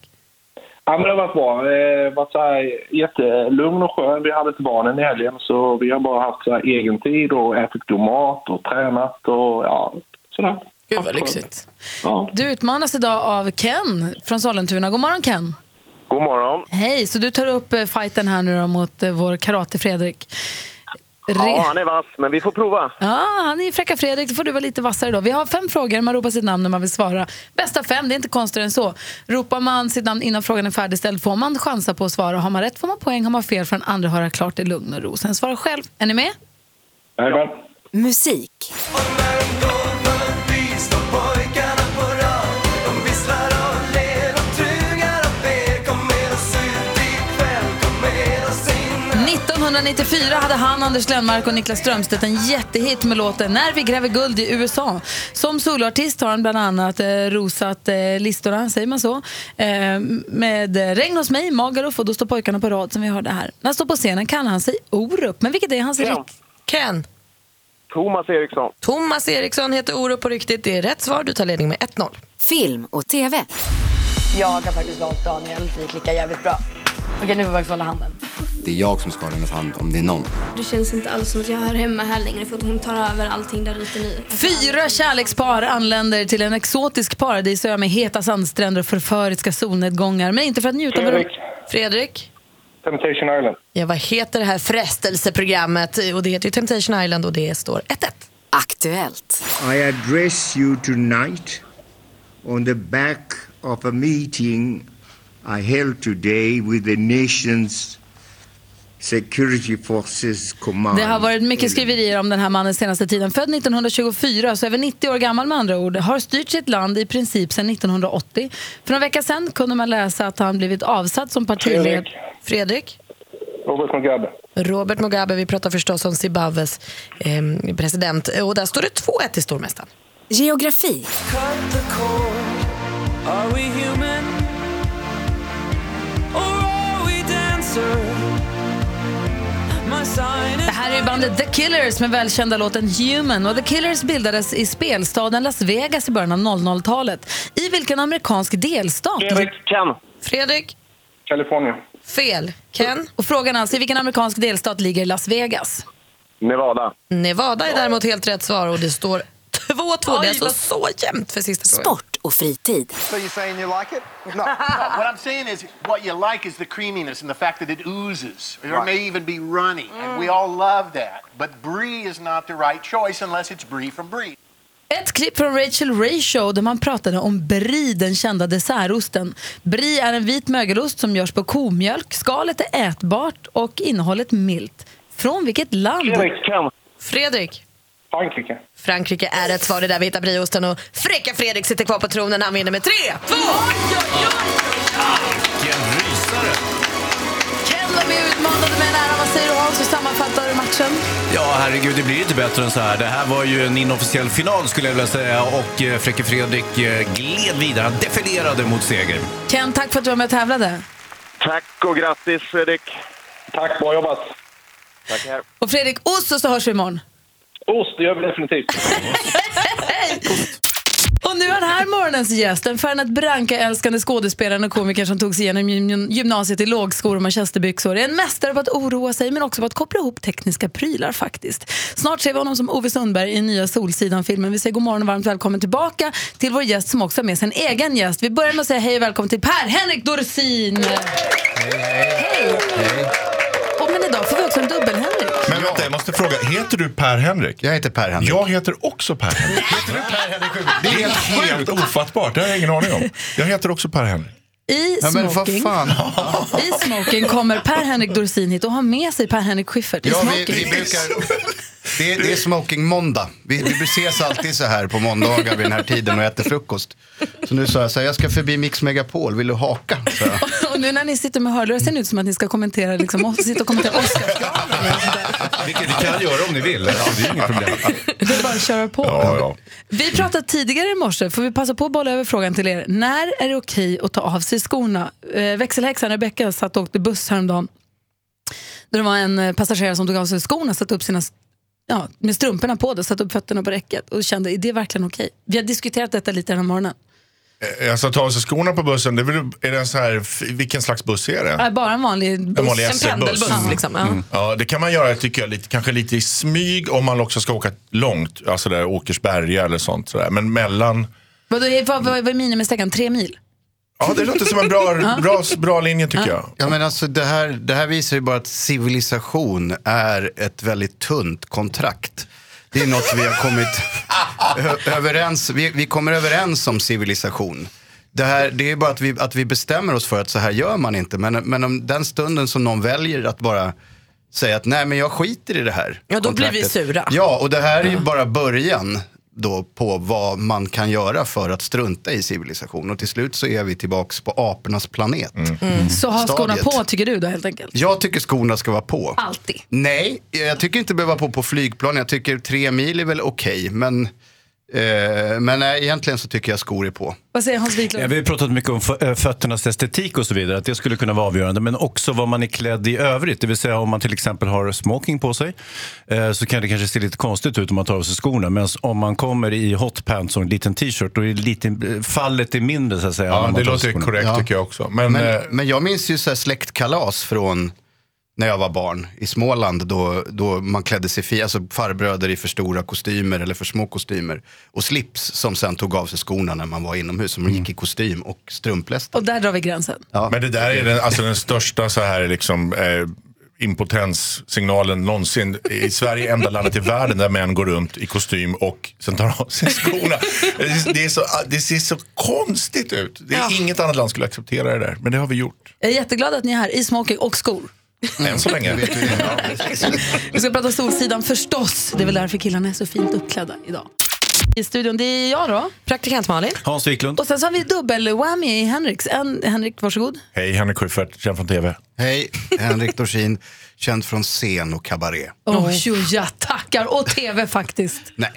Ja, men det har varit bra. Det var så här jättelugn och skön. Vi hade inte barnen i helgen, så vi har bara haft så här egen tid och ätit god mat och tränat och ja, sådär. Gud vad lyxigt. Ja. Du utmanas idag av Ken från Sollentuna. God morgon Ken! God morgon. Hej, så du tar upp eh, fighten här nu då mot eh, vår karate-Fredrik. Ja, han är vass, men vi får prova. Ja, han är ju fräcka Fredrik. Då får du vara lite vassare då. Vi har fem frågor. Man ropar sitt namn när man vill svara. Bästa fem, det är inte konstigare än så. Ropar man sitt namn innan frågan är färdigställd får man chansa på att svara. Har man rätt får man poäng. Har man fel får den andra höra klart i lugn och ro. Sen svara själv. Är ni med? Jajamän. Musik. Hej 1994 hade han, Anders Lennmark och Niklas Strömstedt en jättehit med låten När vi gräver guld i USA. Som soloartist har han bland annat eh, rosat eh, listorna, säger man så, eh, med eh, Regn hos mig, Magaluf och Då står pojkarna på rad som vi hörde här. När han står på scenen kan han sig Orup, men vilket är hans Ken. rikt... Ken. Thomas Eriksson. Thomas Eriksson heter Orup på riktigt. Det är rätt svar. Du tar ledning med 1-0. Film och TV. Jag har faktiskt valt Daniel. Vi klickar jävligt bra. Okej, nu får vi faktiskt hålla handen. Det är jag som ska ha hennes hand om det är någon. Det känns inte alls som att jag hör hemma här längre för att hon tar över allting där ute nu. Fyra kärlekspar anländer till en exotisk paradisö med heta sandstränder och förföriska solnedgångar, men inte för att njuta av... Fredrik. Fredrik? Temptation Island. Ja, vad heter det här frestelseprogrammet? Och det heter ju Temptation Island och det står 1-1. Aktuellt. I address you tonight on the back of a meeting I held today with the nation's security forces command. Det har varit mycket skriverier om den här mannen senaste tiden. Född 1924, så över 90 år gammal med andra ord. Har styrt sitt land i princip sedan 1980. För några vecka sedan kunde man läsa att han blivit avsatt som partiledare. Fredrik. Fredrik? Robert Mugabe. Robert Mugabe, vi pratar förstås om Zimbabwes eh, president. Och där står det 2-1 till stormästaren. Geografi. Are we human? Or are we dancer? My sign Det här är ju bandet The Killers med välkända låten Human. Och The Killers bildades i spelstaden Las Vegas i början av 00-talet. I vilken amerikansk delstat? Fredrik Ken. Fredrik? Kalifornien. Fel. Ken? Och frågan är alltså, i vilken amerikansk delstat ligger Las Vegas? Nevada. Nevada är däremot helt rätt svar och det står 2-2. Det är Oj, alltså vad- så jämnt för sista frågan. Sport och fritid. So you saying you like it? No. what I'm saying is what you like is the creaminess and the fact that it oozes. Or Right. it may even be runny, and we all love that. But brie is not the right choice unless it's brie from brie. Ett klipp från Rachel Ray Show där man pratade om brie, den kända dessertosten. Brie är en vit mögelost som görs på komjölk. Skalet är ätbart och innehållet milt. Från vilket land? Ken. Fredrik? Frankrike. Frankrike är rätt svar. Det är där vi hittar brieosten och fräcka Fredrik sitter kvar på tronen. Han vinner med 3-2. Vilken rysare! Ken var med och utmanade mig nära. Vad säger du Hans? Hur sammanfattar du matchen? Ja, herregud, det blir inte bättre än så här. Det här var ju en inofficiell final skulle jag vilja säga och eh, Fräcke Fredrik eh, gled vidare. Han defilerade mot seger. Ken, tack för att du var med och tävlade. Tack och grattis Fredrik. Tack, bra jobbat. Tackar. Och Fredrik, ost och så hörs vi imorgon. Ost, det gör vi definitivt. Och nu är den här morgonens gäst, den Fernet Branca-älskande skådespelaren och komikern som tog sig igenom gym- gymnasiet i lågskor och manchesterbyxor. Är en mästare på att oroa sig men också på att koppla ihop tekniska prylar faktiskt. Snart ser vi honom som Ove Sundberg i nya Solsidan-filmen. Vi säger god morgon och varmt välkommen tillbaka till vår gäst som också har med sig en egen gäst. Vi börjar med att säga hej och välkommen till Per-Henrik Dorsin. Och men idag får vi också en dubbel-Henrik. Men vänta, jag måste fråga. Heter du Per-Henrik? Jag heter Per-Henrik. Jag heter också Per-Henrik. Det är helt, helt ofattbart. Det har jag ingen aning om. Jag heter också Per-Henrik. I smoking, fan. I smoking kommer Per-Henrik Dorsin hit och har med sig Per-Henrik Schyffert i Ja, smoking. vi, vi brukar, det, är, det är smoking måndag. Vi, vi ses alltid så här på måndagar vid den här tiden och äter frukost. Så nu sa jag så här, jag ska förbi Mix Megapol, vill du haka? Så jag. Och nu när ni sitter med hörlurar ser det ut som att ni ska kommentera, liksom, och sitta och kommentera Oscar. Vilket ni kan göra om ni vill. Det är inget problem. Det är bara att köra på. Ja, ja. Vi pratade tidigare i morse, får vi passa på att bolla över frågan till er. När är det okej att ta av sig skorna? Eh, växelhäxan Rebecca satt och åkte buss häromdagen. Där det var en eh, passagerare som tog av sig skorna, satte upp sina Ja, med strumporna på då, satte upp fötterna på räcket och kände, är det verkligen okej? Vi har diskuterat detta lite den här morgonen. Eh, Alltså ta av sig skorna på bussen, det är, väl, är det en så här, f- vilken slags buss är det? Äh, bara en liksom. vanlig buss. En vanlig SL-buss. Mm. Mm. Ja, det kan man göra tycker jag, lite, kanske lite i smyg om man också ska åka långt. Alltså där Åkersberga eller sånt. Sådär. Men mellan... Vadå, Vad, vad, vad är minimisträckan? Tre mil? Ja, det låter som en bra, bra, bra linje tycker jag. Ja, men alltså, det, här, det här visar ju bara att civilisation är ett väldigt tunt kontrakt. Det är något vi har kommit ö- överens, vi, vi kommer överens om civilisation. Det, här, det är bara att vi, att vi bestämmer oss för att så här gör man inte. Men, men om den stunden som någon väljer att bara säga att nej men jag skiter i det här. Ja, då blir vi kontraktet. sura. Ja, och det här är ju bara början då på vad man kan göra för att strunta i civilisation. Och till slut så är vi tillbaks på apornas planet. Mm. Så ha skorna Mm. Stadiet. på tycker du då helt enkelt? Jag tycker skorna ska vara på. Alltid. Nej, jag tycker inte behöva på på flygplan. Jag tycker tre mil är väl okej. men eh, men nej, egentligen så tycker jag skor är på. Vad säger Hans Ja, Wiklund? vi har pratat mycket om fö- eh, fötternas estetik och så vidare, att det skulle kunna vara avgörande. Men också vad man är klädd i övrigt, det vill säga om man till exempel har smoking på sig eh, så kan det kanske se lite konstigt ut om man tar av sig skorna. Men om man kommer i hotpants och en liten t-shirt, då är det lite, eh, fallet är mindre så att säga. när man tar av sig skorna. jag också. Men, eh, men, jag minns ju så här släktkalas från när jag var barn i Småland då, då man klädde sig fint, alltså farbröder i för stora kostymer eller för små kostymer. Och slips som sen tog av sig skorna när man var inomhus, som gick i kostym och strumpläst. Och där drar vi gränsen. Ja. Men det där är den, alltså den största så här liksom, eh, impotenssignalen någonsin. I Sverige är enda landet i världen där män går runt i kostym och sen tar av sig skorna. Det, är så, det ser så konstigt ut. Det är Inget annat land skulle acceptera det där, men det har vi gjort. Jag är jätteglad att ni är här i smoking och skor. Än så länge. Vi ska prata Solsidan förstås. Det är väl därför killarna är så fint uppklädda idag. I studion, det är jag då, praktikant Malin. Hans Wiklund. Och sen så har vi dubbel-whammy i Henriks. En, Henrik, varsågod. Hej, Henrik Schyffert, känd från TV. Hej, Henrik Dorsin, känd från scen och kabaré. Åh, jo, jag tackar. Och tv faktiskt. Nej.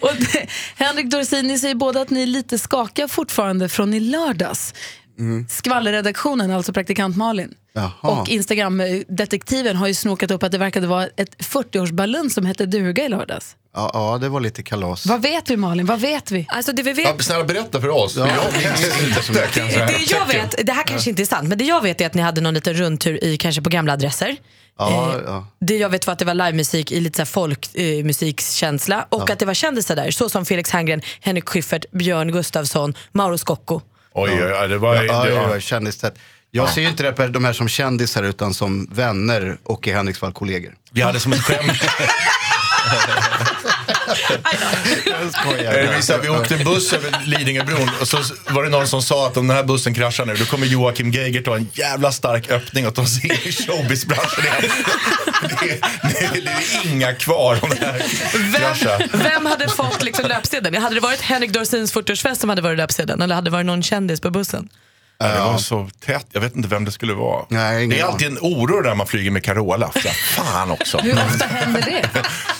och det, Henrik Dorsin, ni säger båda att ni är lite skakiga fortfarande från i lördags. Mm. Skvallerredaktionen, alltså praktikant Malin. Jaha. Och Instagram-detektiven har ju snokat upp att det verkade vara ett 40-årsballon som hette duga i lördags. ja, ja, det var lite kalas. Vad vet vi Malin? Vad vet vi? Alltså det vi Ja, vet... snälla, berätta för oss. Ja, det- Det jag vet, det här kanske inte är sant, men det jag vet är att ni hade någon liten rundtur i kanske på gamla adresser. Ja, Eh, ja. Det jag vet var att det var livemusik i lite så här folkmusikskänsla och Ja. att det var kändisar där, så som Felix Herngren, Henrik Schyffert, Björn Gustafsson, Mauro Scocco. Oj, oj, oj, det var... Ja, ja, det var- ja, kändistätt. Jag ser ju inte det här, de här som kändisar utan som vänner och i Henriksvall kollegor. Vi hade som ett skämt. Eh, vi sa- Vi åkte buss över Lidingöbron och så var det någon som sa att om den här bussen kraschar nu då kommer Joakim Geiger ta en jävla stark öppning och ta sig in i showbizbranschen igen. Det, det, det är inga kvar om den här kraschar. Vem hade fått liksom löpsedeln? Hade det varit Henrik Dorsins 40-årsfest som hade varit löpsedeln eller hade det varit någon kändis på bussen? Ja, det var så tätt, jag vet inte vem det skulle vara. det är alltid en oro när man flyger med Carola. För fan också. Hur ofta händer det?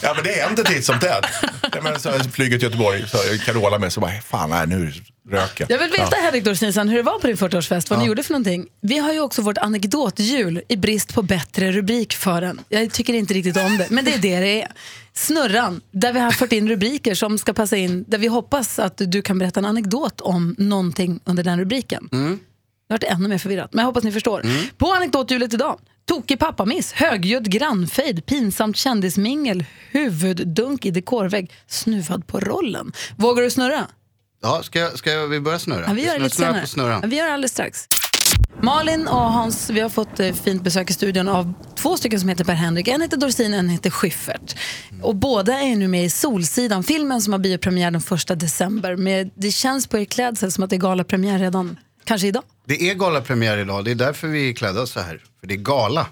Ja men det händer titt som tätt. Ja, men så här, flyger till Göteborg, så har jag Carola med så bara, fan nej, nu röker Jag vill veta Ja. Henrik Dorsin, hur det var på din 40-årsfest, vad ni gjorde för någonting. Vi har ju också vårt anekdothjul i brist på bättre rubrik för den. Jag tycker inte riktigt om det, men det är det det är. Snurran, där vi har fört in rubriker som ska passa in, där vi hoppas att du kan berätta en anekdot om någonting under den rubriken. Mm. Nu vart det ännu mer förvirrat, men jag hoppas ni förstår. På anekdothjulet idag, tokig pappamiss, högljudd grannfejd, pinsamt kändismingel, huvuddunk i dekorvägg, snuvad på rollen. Vågar du snurra? Ja, ska, jag- ska jag- vi börja snurra? Ja, vi gör det Snurra lite snurra senare. på snurran. Ja, vi gör det alldeles strax. Malin och Hans, vi har fått eh, fint besök i studion av två stycken som heter Per-Henrik. En heter Dorsin, en heter Schyffert. Mm. Och båda är nu med i Solsidan, filmen som har biopremiär den 1 december. Men det känns på er klädsel som att det är galapremiär redan, kanske idag. Det är galapremiär idag, det är därför vi är klädda så här. För det är gala.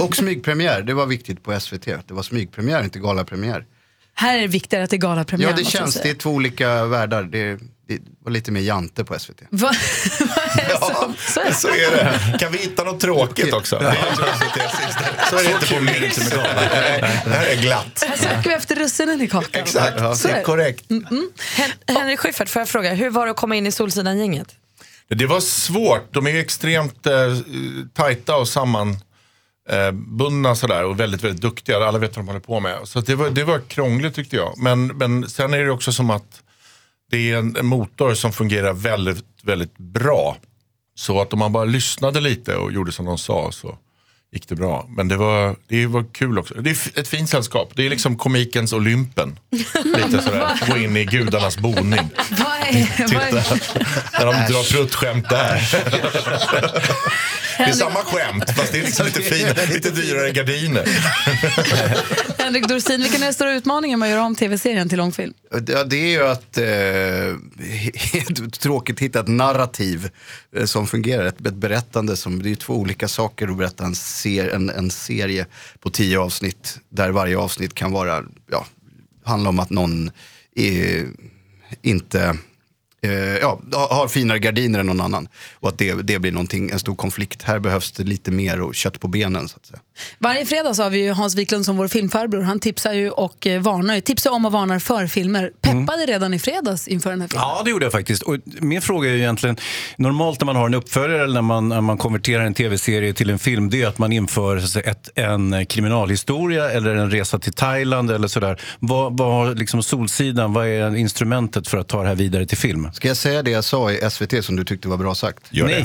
Och smygpremiär, det var viktigt på SVT. Det var smygpremiär, inte galapremiär. Här är det viktigare att det är galapremiär. Ja, det måste jag känns, säga. det är två olika världar. Det, det var lite mer jante på SVT. Va? Ja, så är det. Kan vi hitta något tråkigt också? Det är så att det är sista. Så är det inte på min liksom idag. Nej, Det här är glatt. Här söker vi efter russinen i kakan. Exakt, Så det är är korrekt. Hen- Henrik Schyffert, får jag fråga, hur var det att komma in i Solsidan-gänget? Det var svårt. De är ju extremt eh, tajta och sammanbundna sådär och väldigt, väldigt duktiga. Alla vet vad de håller på med. Så att det, var, det var krångligt tyckte jag. Men, men sen är det också som att det är en, en motor som fungerar väldigt, väldigt bra. Så att om man bara lyssnade lite och gjorde som de sa så gick det bra. Men det var, det var kul också. Det är f- ett fint sällskap. Det är liksom komikens Olympen. Lite sådär, gå in i gudarnas boning. Vad är, Eh, vad är, Titta, när de drar pruttskämt där. Det är samma skämt, fast det är liksom lite finare, lite dyrare gardiner. Henrik Dorsin, vilken är den stora utmaningen med att göra om tv-serien till långfilm? Ja, det är ju att eh, tråkigt hitta ett narrativ eh, som fungerar. Ett, ett berättande som, det är ju två olika saker att berätta en, ser, en, en serie på tio avsnitt. Där varje avsnitt kan vara, ja, handla om att någon eh, inte eh, ja, ha- har finare gardiner än någon annan. Och att det, det blir någonting, en stor konflikt. Här behövs det lite mer och kött på benen så att säga. Varje fredag så har vi ju Hans Wiklund som vår filmfarbror. Han tipsar ju och eh, varnar ju. Tipsar om och varnar för filmer. Mm. Peppade redan i fredags inför den här filmen. Ja, det gjorde jag faktiskt. Och min fråga är ju egentligen, normalt när man har en uppföljare eller när man, när man konverterar en tv-serie till en film, det är att man inför så att säga, ett, en kriminalhistoria eller en resa till Thailand eller sådär. Vad, vad har liksom Solsidan, vad är instrumentet för att ta det här vidare till film? Ska jag säga det jag sa i SVT som du tyckte var bra sagt? Gör det.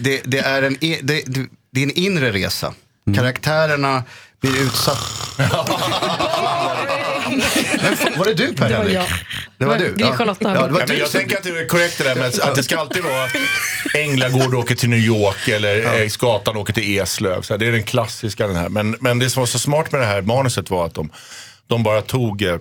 det, det, är en, e- det, det- det är en inre resa. Karaktärerna blir utsatta. Var det du Per Det var Henrik? jag. Det var du? Ja. Ja, Ja, det var du men jag som- tänker att du är korrekt det där med att det ska alltid vara Änglagård åker till New York eller ja. Skatan åker till Eslöv. Så här, det är den klassiska den här. Men, men det som var så smart med det här manuset var att de, de bara tog, eh,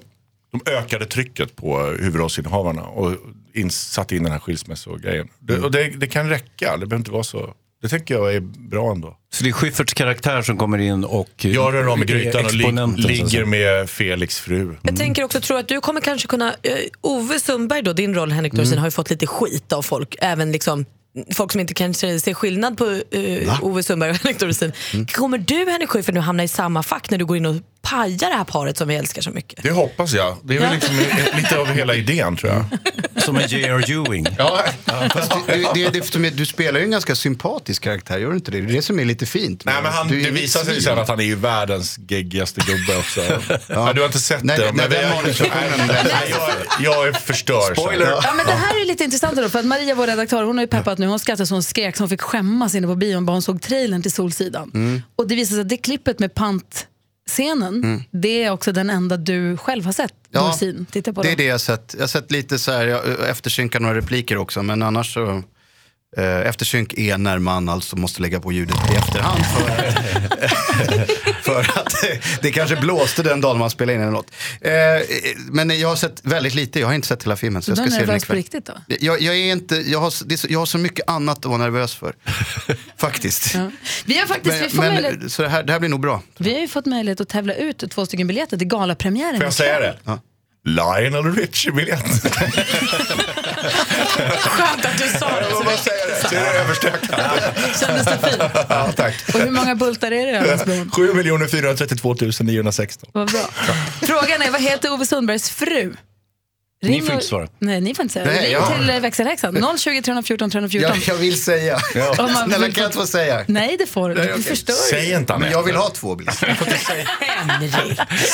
de ökade trycket på eh, huvudrollsinnehavarna och in, satte in den här skilsmässogrejen. Det, och det, det kan räcka, det behöver inte vara så. Det tänker jag är bra ändå. Så det är Schyfferts karaktär som kommer in och... Jag rör om i grytan och lig, Exponenten, så att ligger säga. Mm. med Felix fru. Jag tänker också, tror att du kommer kanske kunna, eh, Ove Sundberg då, din roll Henrik Dorsin Mm. har ju fått lite skit av folk, även liksom folk som inte kanske ser skillnad på eh, Va? Ove Sundberg och Henrik Dorsin. Kommer du Henrik Schyffert nu hamna i samma fack när du går in och pajar det här paret som vi älskar så mycket? Det hoppas jag. Det är väl liksom lite av hela idén tror jag. Som en J.R. Ewing. Ja. Fast du, du, det, det, du- du spelar ju en ganska sympatisk karaktär, gör du inte det? Det är det som är lite fint. Nej, men han, du är det inget visar sig svin. sen att han är ju världens geggigaste gubbe också. ja. du har inte sett Nej, det. nej, men den jag- manusversionen, Nej, den- jag, jag är förstörd. Spoiler. Ja, men det här är lite intressant då, för att Maria, vår redaktör, hon har ju peppat nu. Hon skrattade så hon skrek, så hon fick skämmas inne på bion bara hon såg trailern till Solsidan. Mm. Och det visar sig att det klippet med pantscenen, Mm. det är också den enda du själv har sett, Ja, Dorsin. Titta på det den. är det jag har sett. Jag har sett lite så här, jag eh, eftersynkar några repliker också, men annars så... Eh, eftersynk är när man alltså måste lägga på ljudet i efterhand för att, för att det kanske blåste den dagen man spelade in eller något. Eh, eh, men jag har sett väldigt lite, jag har inte sett hela filmen så jag Den ska är se den nervös på ikväll. riktigt då? Jag, jag, är inte, jag, har, s- det är så, jag har så mycket annat att vara nervös för, faktiskt. Vi har faktiskt, vi får men, möjlighet- men, så det här, det här blir nog bra. Vi har ju fått möjlighet att tävla ut två stycken biljetter till galapremiären. Får jag säga det? Lionel Richie-biljett. Skönt att du sa det. Jag vill bara säga det, så är det överstökat. Kändes det fint? Ja, tack. Och hur många bultar är det? Jonas Blom? 7 432 916. Vad bra. Frågan är, vad heter Ove Sundbergs fru? Ni Ring får och- inte svara. Nej, ni får inte säga. Nej, Ring jag- till eh, växelhäxan. 020 314 314. Jag, jag vill säga. Om man- Snälla kan jag inte få säga? Nej, det får du Nej, inte. Du okej. förstör ju. Säg inte Anette. Men jag vill ha två biljetter.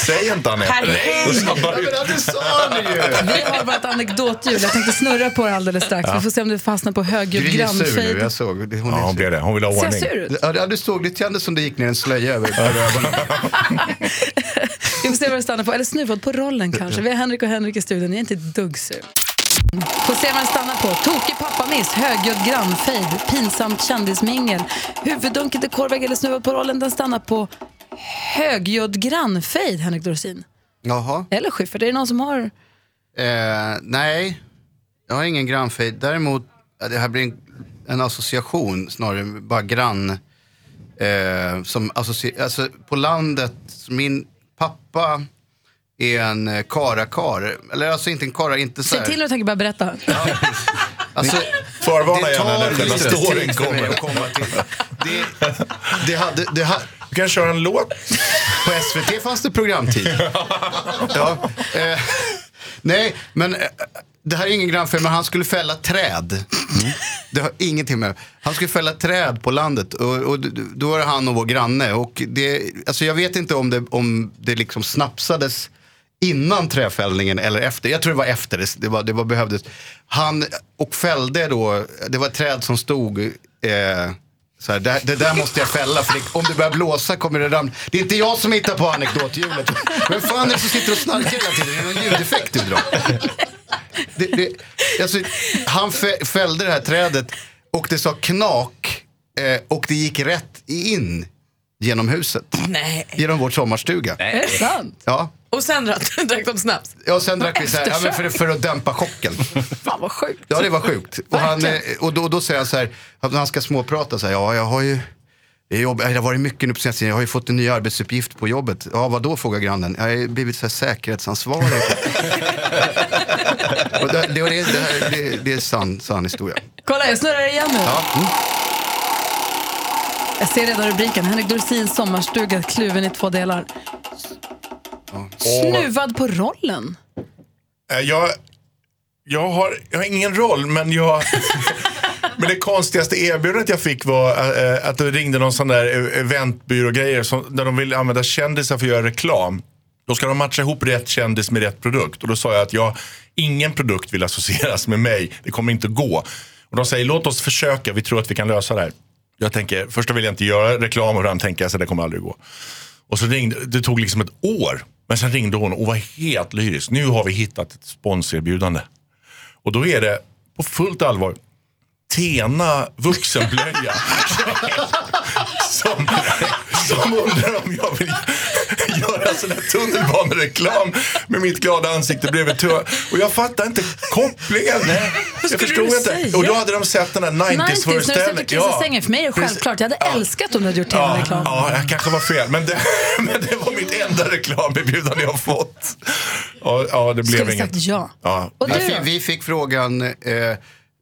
Säg inte Anette. Herregud. Då sabbar du. Ja, men det sa ni ju. Vi har bara ett anekdothjul. Jag tänkte snurra på det alldeles strax. Ja. Vi får se om du fastnar på högljudd Gry är sur nu, grannfejd. jag såg. Det- Hon Ja, hon blev det. Hon vill ha Ser jag ordning. sur ut? Ja, du såg. Det kändes som det gick ner en slöja över ögonen. Vi får se vad du stannar på. Eller snuvad på rollen kanske. Vi har Henrik och Henrik i studion. Ni är inte ett dugg sur. Får se vad den stannar på. Tokig pappamiss, högljudd grannfejd, pinsamt kändismingel, huvuddunket i korvvägg eller snuvad på rollen. Den stannar på högljudd grannfejd, Henrik Dorsin. Jaha. Eller Schyffert, är det någon som har... Eh, nej, jag har ingen grannfejd. Däremot, ja, det här blir en, en association snarare, än bara grann. Eh, som associ- alltså, på landet, min pappa är en eh, karakar. Eller alltså inte en kara, inte så Se här. till när du tänker börja berätta. Alltså, Förvarna det gärna tar när själva lite storyn tid för mig kommer. att komma till. Det, det hade, det ha... Du kan köra en låt. På SVT fanns det programtid. ja, eh, nej, men eh, det här är ingen grannfilm, men han skulle fälla träd. Det har ingenting med Han skulle fälla träd på landet och, och d- d- då var det han och vår granne. Och det, alltså jag vet inte om det, om det liksom snapsades innan träfällningen eller efter. Jag tror det var efter, det, det, var, det var behövdes. Han och fällde då, det var ett träd som stod eh, så här, det, det där måste jag fälla för det, om det börjar blåsa kommer det ramla. Det är inte jag som hittar på anekdothjulet. Vem fan är det som sitter och snarkar hela tiden? Är det någon ljudeffekt du drar? det, det, alltså, han fä, fällde det här trädet och det sa knak eh, och det gick rätt in genom huset. Nej. Genom vår sommarstuga. Är det sant? Ja. Och sen drack- drack de snaps? Ja, sen drack vi så här, ja, men för, för att dämpa chocken. Fan vad sjukt. Ja, det var sjukt. Och, han, eh, Verkligen. och då, då säger han så här, att han ska småprata så här, ja, jag har ju det är jobb- det har varit mycket nu på senaste tiden. Jag har ju fått en ny arbetsuppgift på jobbet. Ja, vad då frågar grannen. Jag har ju blivit så här säkerhetsansvarig. och det, det, det, det, här- det, det är sann, sann historia. Kolla, jag snurrar igen nu. Ja. Mm. Jag ser redan rubriken. Henrik Dorsins sommarstuga kluven i två delar. Snuvad på rollen. Eh, Jag, jag, har, jag har ingen roll, men jag... Men det konstigaste erbjudandet jag fick var eh, att det ringde någon sån där eh, eventbyrågrejer som, där de vill använda kändisar för att göra reklam. Då ska de matcha ihop rätt kändis med rätt produkt. Och då sa jag att jag, ingen produkt vill associeras med mig. Det kommer inte gå. Och de säger låt oss försöka, vi tror att vi kan lösa det här. Jag tänker, först vill jag inte göra reklam och ibland tänker jag så det kommer aldrig gå. Och så ringde, det tog liksom ett år. Men sen ringde hon och var helt lyrisk. Nu har vi hittat ett sponserbjudande. Och då är det på fullt allvar Tena vuxenblöja. som, som undrar om jag vill göra sån här tunnelbanereklam med mitt glada ansikte bredvid tö. Och jag fattar inte kopplingen. Vad jag skulle förstod du inte. säga? Och då hade de sett den där 90s när du satt och 90s-föreställningen. kissade sängen. För mig är det självklart. Jag hade älskat om du hade gjort tv-reklam. Ja, jag kanske var fel. Men det, men det var mitt enda reklamerbjudande jag fått. Ja, ja det blev Skulle inget. sagt ja. Ja. Och vi- vi, vi fick frågan eh,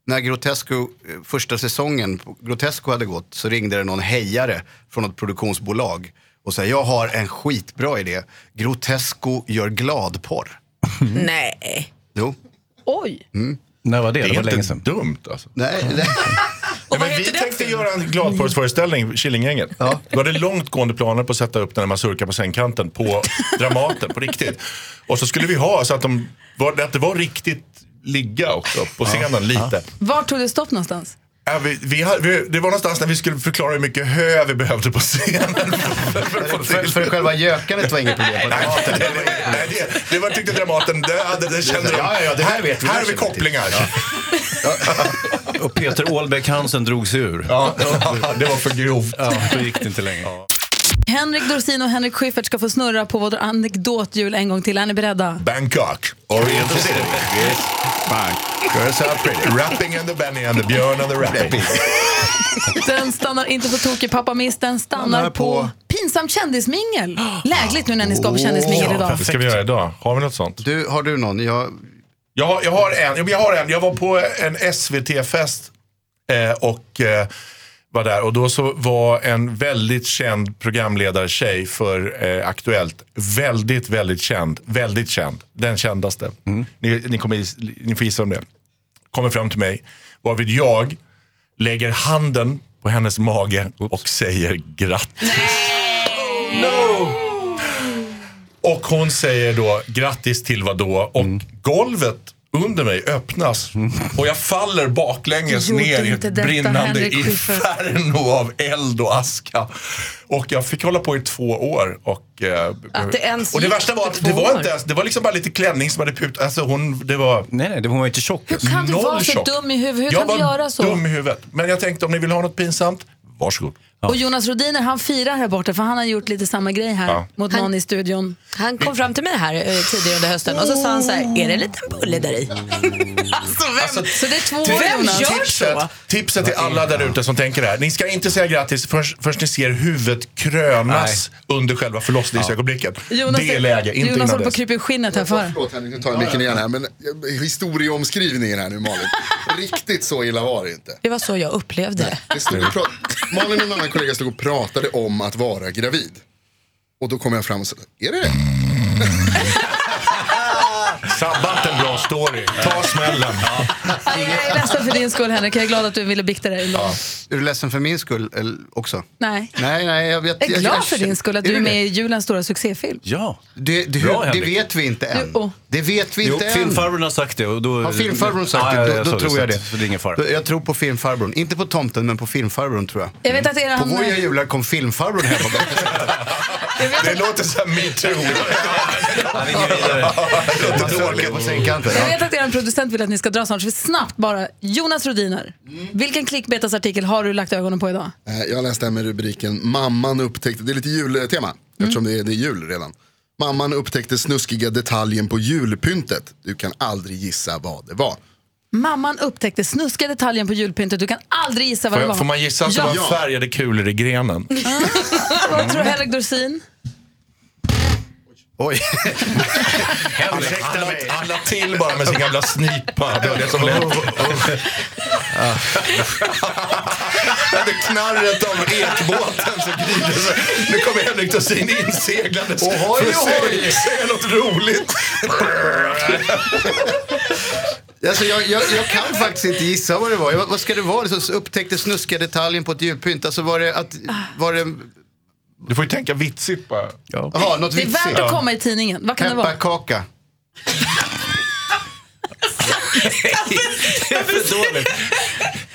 när Grotesco, eh, första säsongen på Grotesco hade gått så ringde det någon hejare från ett produktionsbolag och sa jag har en skitbra idé. Grotesco gör gladporr. Nej. Jo. Oj. Mm. När var det? Det Det är var inte länge sedan. dumt alltså. Nej, Nej, men vi tänkte göra en gladporrsföreställning, Killinggänget. Då hade långtgående planer på att sätta upp den här masurka på sängkanten på Dramaten, på riktigt. Och så skulle vi ha så att, de var, att det var riktigt ligga också på scenen lite. Var tog det stopp någonstans? Ja, vi, vi, hade- vi, det var någonstans när vi skulle förklara hur mycket hö vi behövde på scenen. För, för själva gökandet var inget problem. Nej, det, det var tyckte Dramaten, det, hade, det kände de. Ja, ja, ja, det här vet vi. Det Här här har vi känner vi kopplingar. Och Peter Ålbäck Hansen drog sig ur. Ja, det var för grovt. Ja, då gick det inte längre. Henrik Dorsin och Henrik Schyffert ska få snurra på vårt anekdothjul en gång till. Är ni beredda? Bangkok, Oriental City. Yes, fine. Girls are pretty. Rapping and the Benny and the Björn and the Rapping. Den stannar inte på tokig pappa miss, den stannar på pinsamt kändismingel. Lägligt nu när ni ska på kändismingel idag. Det ska vi göra idag. Har vi något sånt? Du, har du någon? Jag... Jag, har- jag, har en, Jo, men jag har en. Jag var på en SVT-fest eh, och eh, var där. Och då så var en väldigt känd programledartjej för eh, Aktuellt. Väldigt, väldigt känd. Väldigt känd. Den kändaste. Mm. Ni, ni, kommer, gis- ni får gissa om det. Kommer fram till mig, varvid jag lägger handen på hennes mage och säger grattis. Och hon säger då grattis till vad då? Och Mm. golvet under mig öppnas och jag faller baklänges Gjorde ner i inte ett detta, brinnande Henrik Schyffert. inferno av eld och aska. Och jag fick hålla på i två år. Och, eh, Att det ens och det gick värsta var efter att det två var, år. inte ens, det var liksom bara lite klänning som hade put. Alltså hon, det var... Nej, nej, hon var inte tjock. Hur kan du vara så dum i huvudet? Hur kan du göra så? Jag var dum i huvudet. Men jag tänkte om ni vill ha något pinsamt, varsågod. Och Jonas Rodiner han firar här borta för han har gjort lite samma grej här Ja. mot någon i studion. Han kom fram till mig här eh, tidigare under hösten och så sa han så här, är det en liten bulle där i? Alltså, Så det är två Tipset- år Jonas. tipset, tipset till alla där ute som tänker det här. Ni ska inte säga grattis förrän, förrän ni ser huvudet krönas under själva förlossningsögonblicket. Jonas, Det är läge, inte Jonas håller innan på att dess. krypa i skinnet här för. Förlåt Henrik, nu tar jag micken igen här. Men eh, historieomskrivningen här nu Malin. Riktigt så illa var det inte. Det var så jag upplevde det. Det stod och pra- Malin och en annan kollega stod och pratade om att vara gravid. Och då kom jag fram och sa, är det det? Sabbat en bra story. Eh, Ta smällen. Jag är ledsen för din skull Henrik, jag är glad att du ville bikta dig. idag. Är du ledsen för min skull eller, också? Nej. Nej, nej, jag vet. Jag är jag- glad jag- för din skull att Är du är du med i julens stora succéfilm. Ja. Det, det, Bra, det Henrik. vet vi inte än. Jo. Det vet vi Jo, inte än. filmfarbrorn har sagt det. Och då, Har filmfarbrorn sagt Ja, ja, det, ja, då, så- då tror jag så- det. Så det är ingen fara. Jag tror på filmfarbrorn. Inte på tomten, men på filmfarbrorn tror jag. Jag vet att er På han... våra jular kom filmfarbrorn hem och Det låter som metoo. Masurka på sängkanten. Jag vet att er producent vill att ni ska dra snart, så vi snabbt bara. Jonas Rodiner, vilken klickbetasartikel har du lagt ögonen på idag? Eh, Jag läste här med rubriken Mamman upptäckte, det är lite jultema eftersom det är, det är jul redan. Mamman upptäckte snuskiga detaljen på julpyntet. Du kan aldrig gissa vad det var. Mamman upptäckte snuska detaljen på julpyntet. Du kan aldrig gissa vad Får, det var. jag, får man gissa att det ja. var färgade kulor i grenen? Vad tror Henrik Dorsin? Oj. Ursäkta mig. Han la till bara med sin gamla snipa. Det var det som lät. oh, Jag hade knarret av ekbåten som grider sig. Nu kommer Henrik Dorsin inseglandes. Ohoj, För att ohoj. säga, säga något roligt. Alltså, jag, jag, jag kan faktiskt inte gissa vad det var. Jag, vad ska det vara? Så upptäckte snuska detaljen på ett julpynt. Alltså var det att... Var det... Du får ju tänka vitsigt bara. Ja. Jaha, något Det är vitsigt. värt att komma i tidningen. Vad kan det vara? Pepparkaka. det är för dåligt.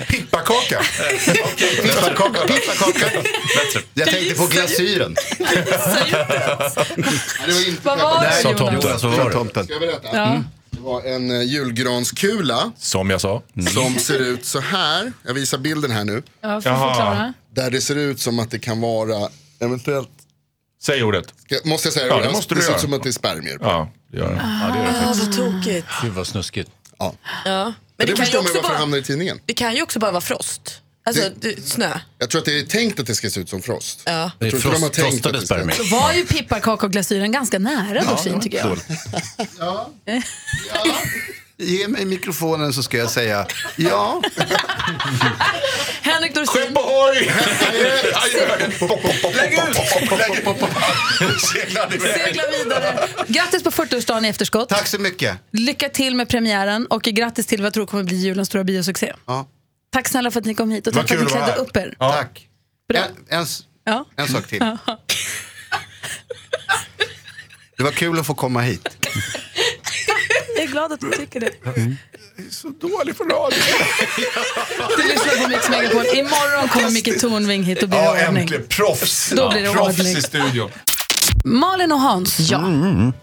Pippakaka. Pippakaka, pippakaka. Jag tänkte på glasyren. Det var inte Vad var det, Sa tomten. Jonas, Jonas? vad var det? Sa tomten. Ska jag berätta? Ja. Mm. Det var en eh, julgranskula. Som jag sa. Mm. Som ser ut så här. Jag visar bilden här nu. Ja, får Jaha. förklara. Där det ser ut som att det kan vara eventuellt. Säg ordet. måste jag säga Ja, det ordet? måste det du ser göra. ut som att det är spermier. Ja, det gör det. Ja, det gör det Ah, faktiskt. vad tokigt. Gud vad snuskigt. Ja. Ja. Men Men det det, kan, ju förstår man ju också varför det bara, hamnar i tidningen. det kan ju också bara vara frost. Alltså det, snö. Jag tror att det är tänkt att det ska se ut som frost. Ja. Jag tror inte de har tänkt att det ska- Så var ju pipparkaka och glasyren ganska nära morfin tycker jag. Eh, Ja. Ge mig mikrofonen så ska jag säga ja. Henrik Dorsin. Skepp ohoj! Lägg ut! Segla vidare. Grattis på 40-årsdagen i efterskott. Tack så mycket. Lycka till med premiären och grattis till vad jag tror kommer bli julens stora biosuccé. Ja. Tack snälla för att ni kom hit och Vad tack för att kul ni att vara klädde här. upp er. Tack. En, en, s- Ja. en sak till. Ja. Det var kul att få komma hit. Jag är glad att du tycker det. Så dålig på radio. Du lyssnar på Mix Megapol. Imorgon kommer Micke Tornving hit och blir Ja, det ordning. äntligen. Proffs. Då blir det Proffs ordning. i studion. Malin och Hans, ja.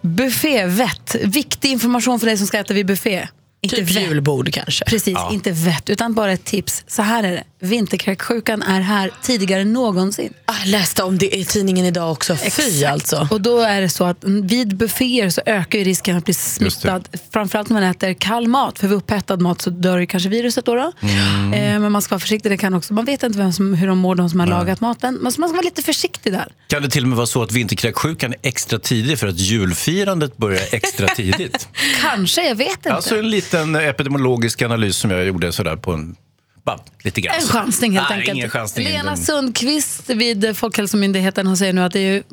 buffévett. Viktig information för dig som ska äta vid buffé. Inte Typ vett. julbord kanske. Precis, Ja. inte vett, utan bara ett tips. Så här är det, vinterkräksjukan är här tidigare än någonsin. Ah, Jag läste om det i tidningen idag också. Fy alltså. Och då är det så att vid bufféer så ökar ju risken att bli smittad. Framförallt när man äter kall mat, för vid upphettad mat så dör ju kanske viruset då. då. Mm. Eh, men man ska vara försiktig, det kan också, man vet inte vem som, hur de mår, de som har lagat maten. Men så man ska vara lite försiktig där. Kan det till och med vara så att vinterkräksjukan är extra tidig för att julfirandet börjar extra tidigt? Kanske, jag vet inte. alltså en liten epidemiologisk analys som jag gjorde sådär på en... Bara lite grann. En chansning helt Nej, enkelt. Ingen chansning. Lena Den- Sundqvist vid Folkhälsomyndigheten hon säger nu att det är ju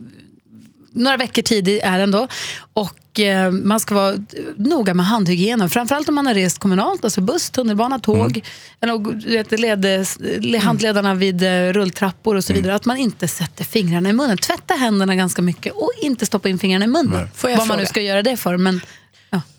några veckor tid i är den då. Och eh, man ska vara noga med handhygienen. Framförallt om man har rest kommunalt, alltså buss, tunnelbana, Mm. tåg. Eller, du vet, led, le- handledarna vid eh, rulltrappor och så Mm. vidare. Att man inte sätter fingrarna i munnen. Tvätta händerna ganska mycket och inte stoppa in fingrarna i munnen. Nej. Får jag Vad man fråga? nu ska göra det för. Men,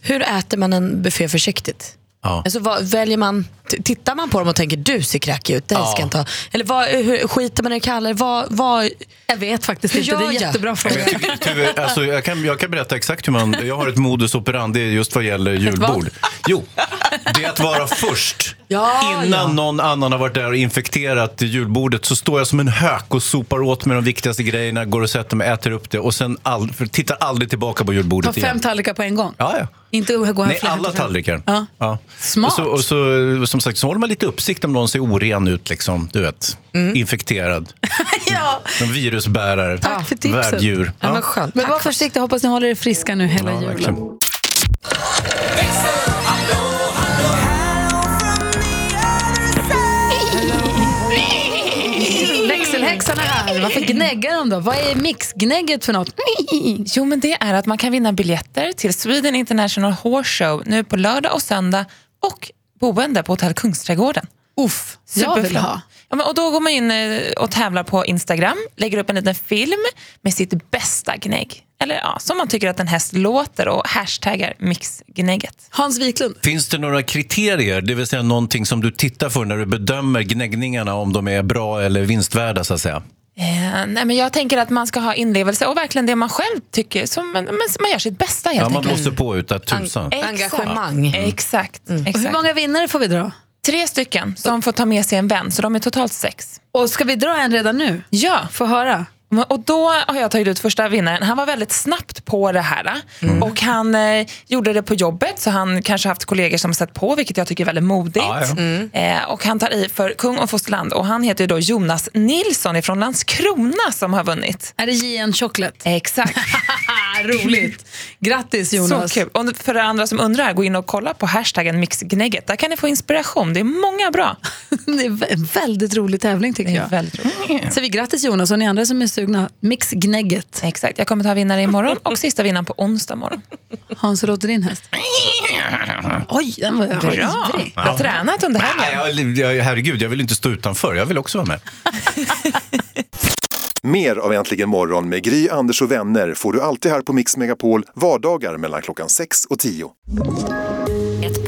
Hur äter man en buffé försiktigt? Ja. Alltså, vad, väljer man, t- tittar man på dem och tänker du ser kräkig ut, den Ja. ska jag inte ha. Eller vad, hur, skiter man i kallar vad, vad, Jag vet faktiskt hur inte, det är gör jag? jättebra fråga. Tyvärr, Alltså, jag, kan, jag kan berätta exakt hur man... Jag har ett modus operandi just vad gäller julbord. Jo, det är att vara först. Ah, Innan någon annan har varit där och infekterat julbordet så står jag som en hök och sopar åt mig de viktigaste grejerna, går och sätter mig, äter upp det och sen all, för- tittar aldrig tillbaka på Ta julbordet fem igen. tallrikar på en gång. Ja, ja. Inte gå här Nej, flera alla tillfällen. tallrikar. Ja. Ja. Smart. Och så, och så, som sagt, så håller man lite uppsikt om någon ser oren ut, liksom, du vet. Mm. Infekterad. ja. Som virusbärare. Tack för tipsen. Värddjur. Ja, men skönt. Men var försiktig, hoppas ni håller er friska nu hela Ja, julen. verkligen. Växelhäxan är här. Varför gnäggar de då? Vad är mixgnägget för något? Jo, men det är att man kan vinna biljetter till Sweden International Horse Show nu på lördag och söndag och boende på Hotell Kungsträdgården. Uff, jag vill ha. Ja, men, och då går man in eh, och tävlar på Instagram, lägger upp en liten film med sitt bästa gnägg. Eller ja, som man tycker att en häst låter och hashtaggar mixgnägget. Hans Wiklund. Finns det några kriterier, det vill säga någonting som du tittar för när du bedömer gnäggningarna, om de är bra eller vinstvärda så att säga? Eh, nej, men jag tänker att man ska ha inlevelse och verkligen det man själv tycker. Som, men, men man gör sitt bästa helt Ja, man enkelt. blåser på utan tusan. Exakt. Mm. Exakt. Och exakt. hur många vinnare får vi dra? Tre stycken som får ta med sig en vän, så de är totalt sex. Och ska vi dra en redan nu? Ja. Få höra. Och då har jag tagit ut första vinnaren. Han var väldigt snabbt på det här. Mm. Och han eh, gjorde det på jobbet, så han kanske haft kollegor som sett på, vilket jag tycker är väldigt modigt. Ja, ja. Mm. Eh, och han tar i för kung och fosterland. Och han heter ju då Jonas Nilsson från Landskrona som har vunnit. Är det JN Chocolate? Exakt. Ah, Roligt. Grattis Jonas. Så kul. Och för er andra som undrar, gå in och kolla på hashtaggen mixgnägget. Där kan ni få inspiration. Det är många bra. det är en väldigt rolig tävling tycker jag. Väldigt roligt. Så vi grattis Jonas och ni andra som är sugna. Mix gnägget. Exakt, jag kommer ta vinnare imorgon och sista vinnaren på onsdag morgon. Hans, hur låter din häst? Oj, den var Bra! ivrig. Jag har tränat under helgen. Nej, jag, jag, herregud, jag vill inte stå utanför. Jag vill också vara med. Mer av Äntligen morgon med Gry, Anders och vänner får du alltid här på Mix Megapol vardagar mellan klockan 6 och 10. Ett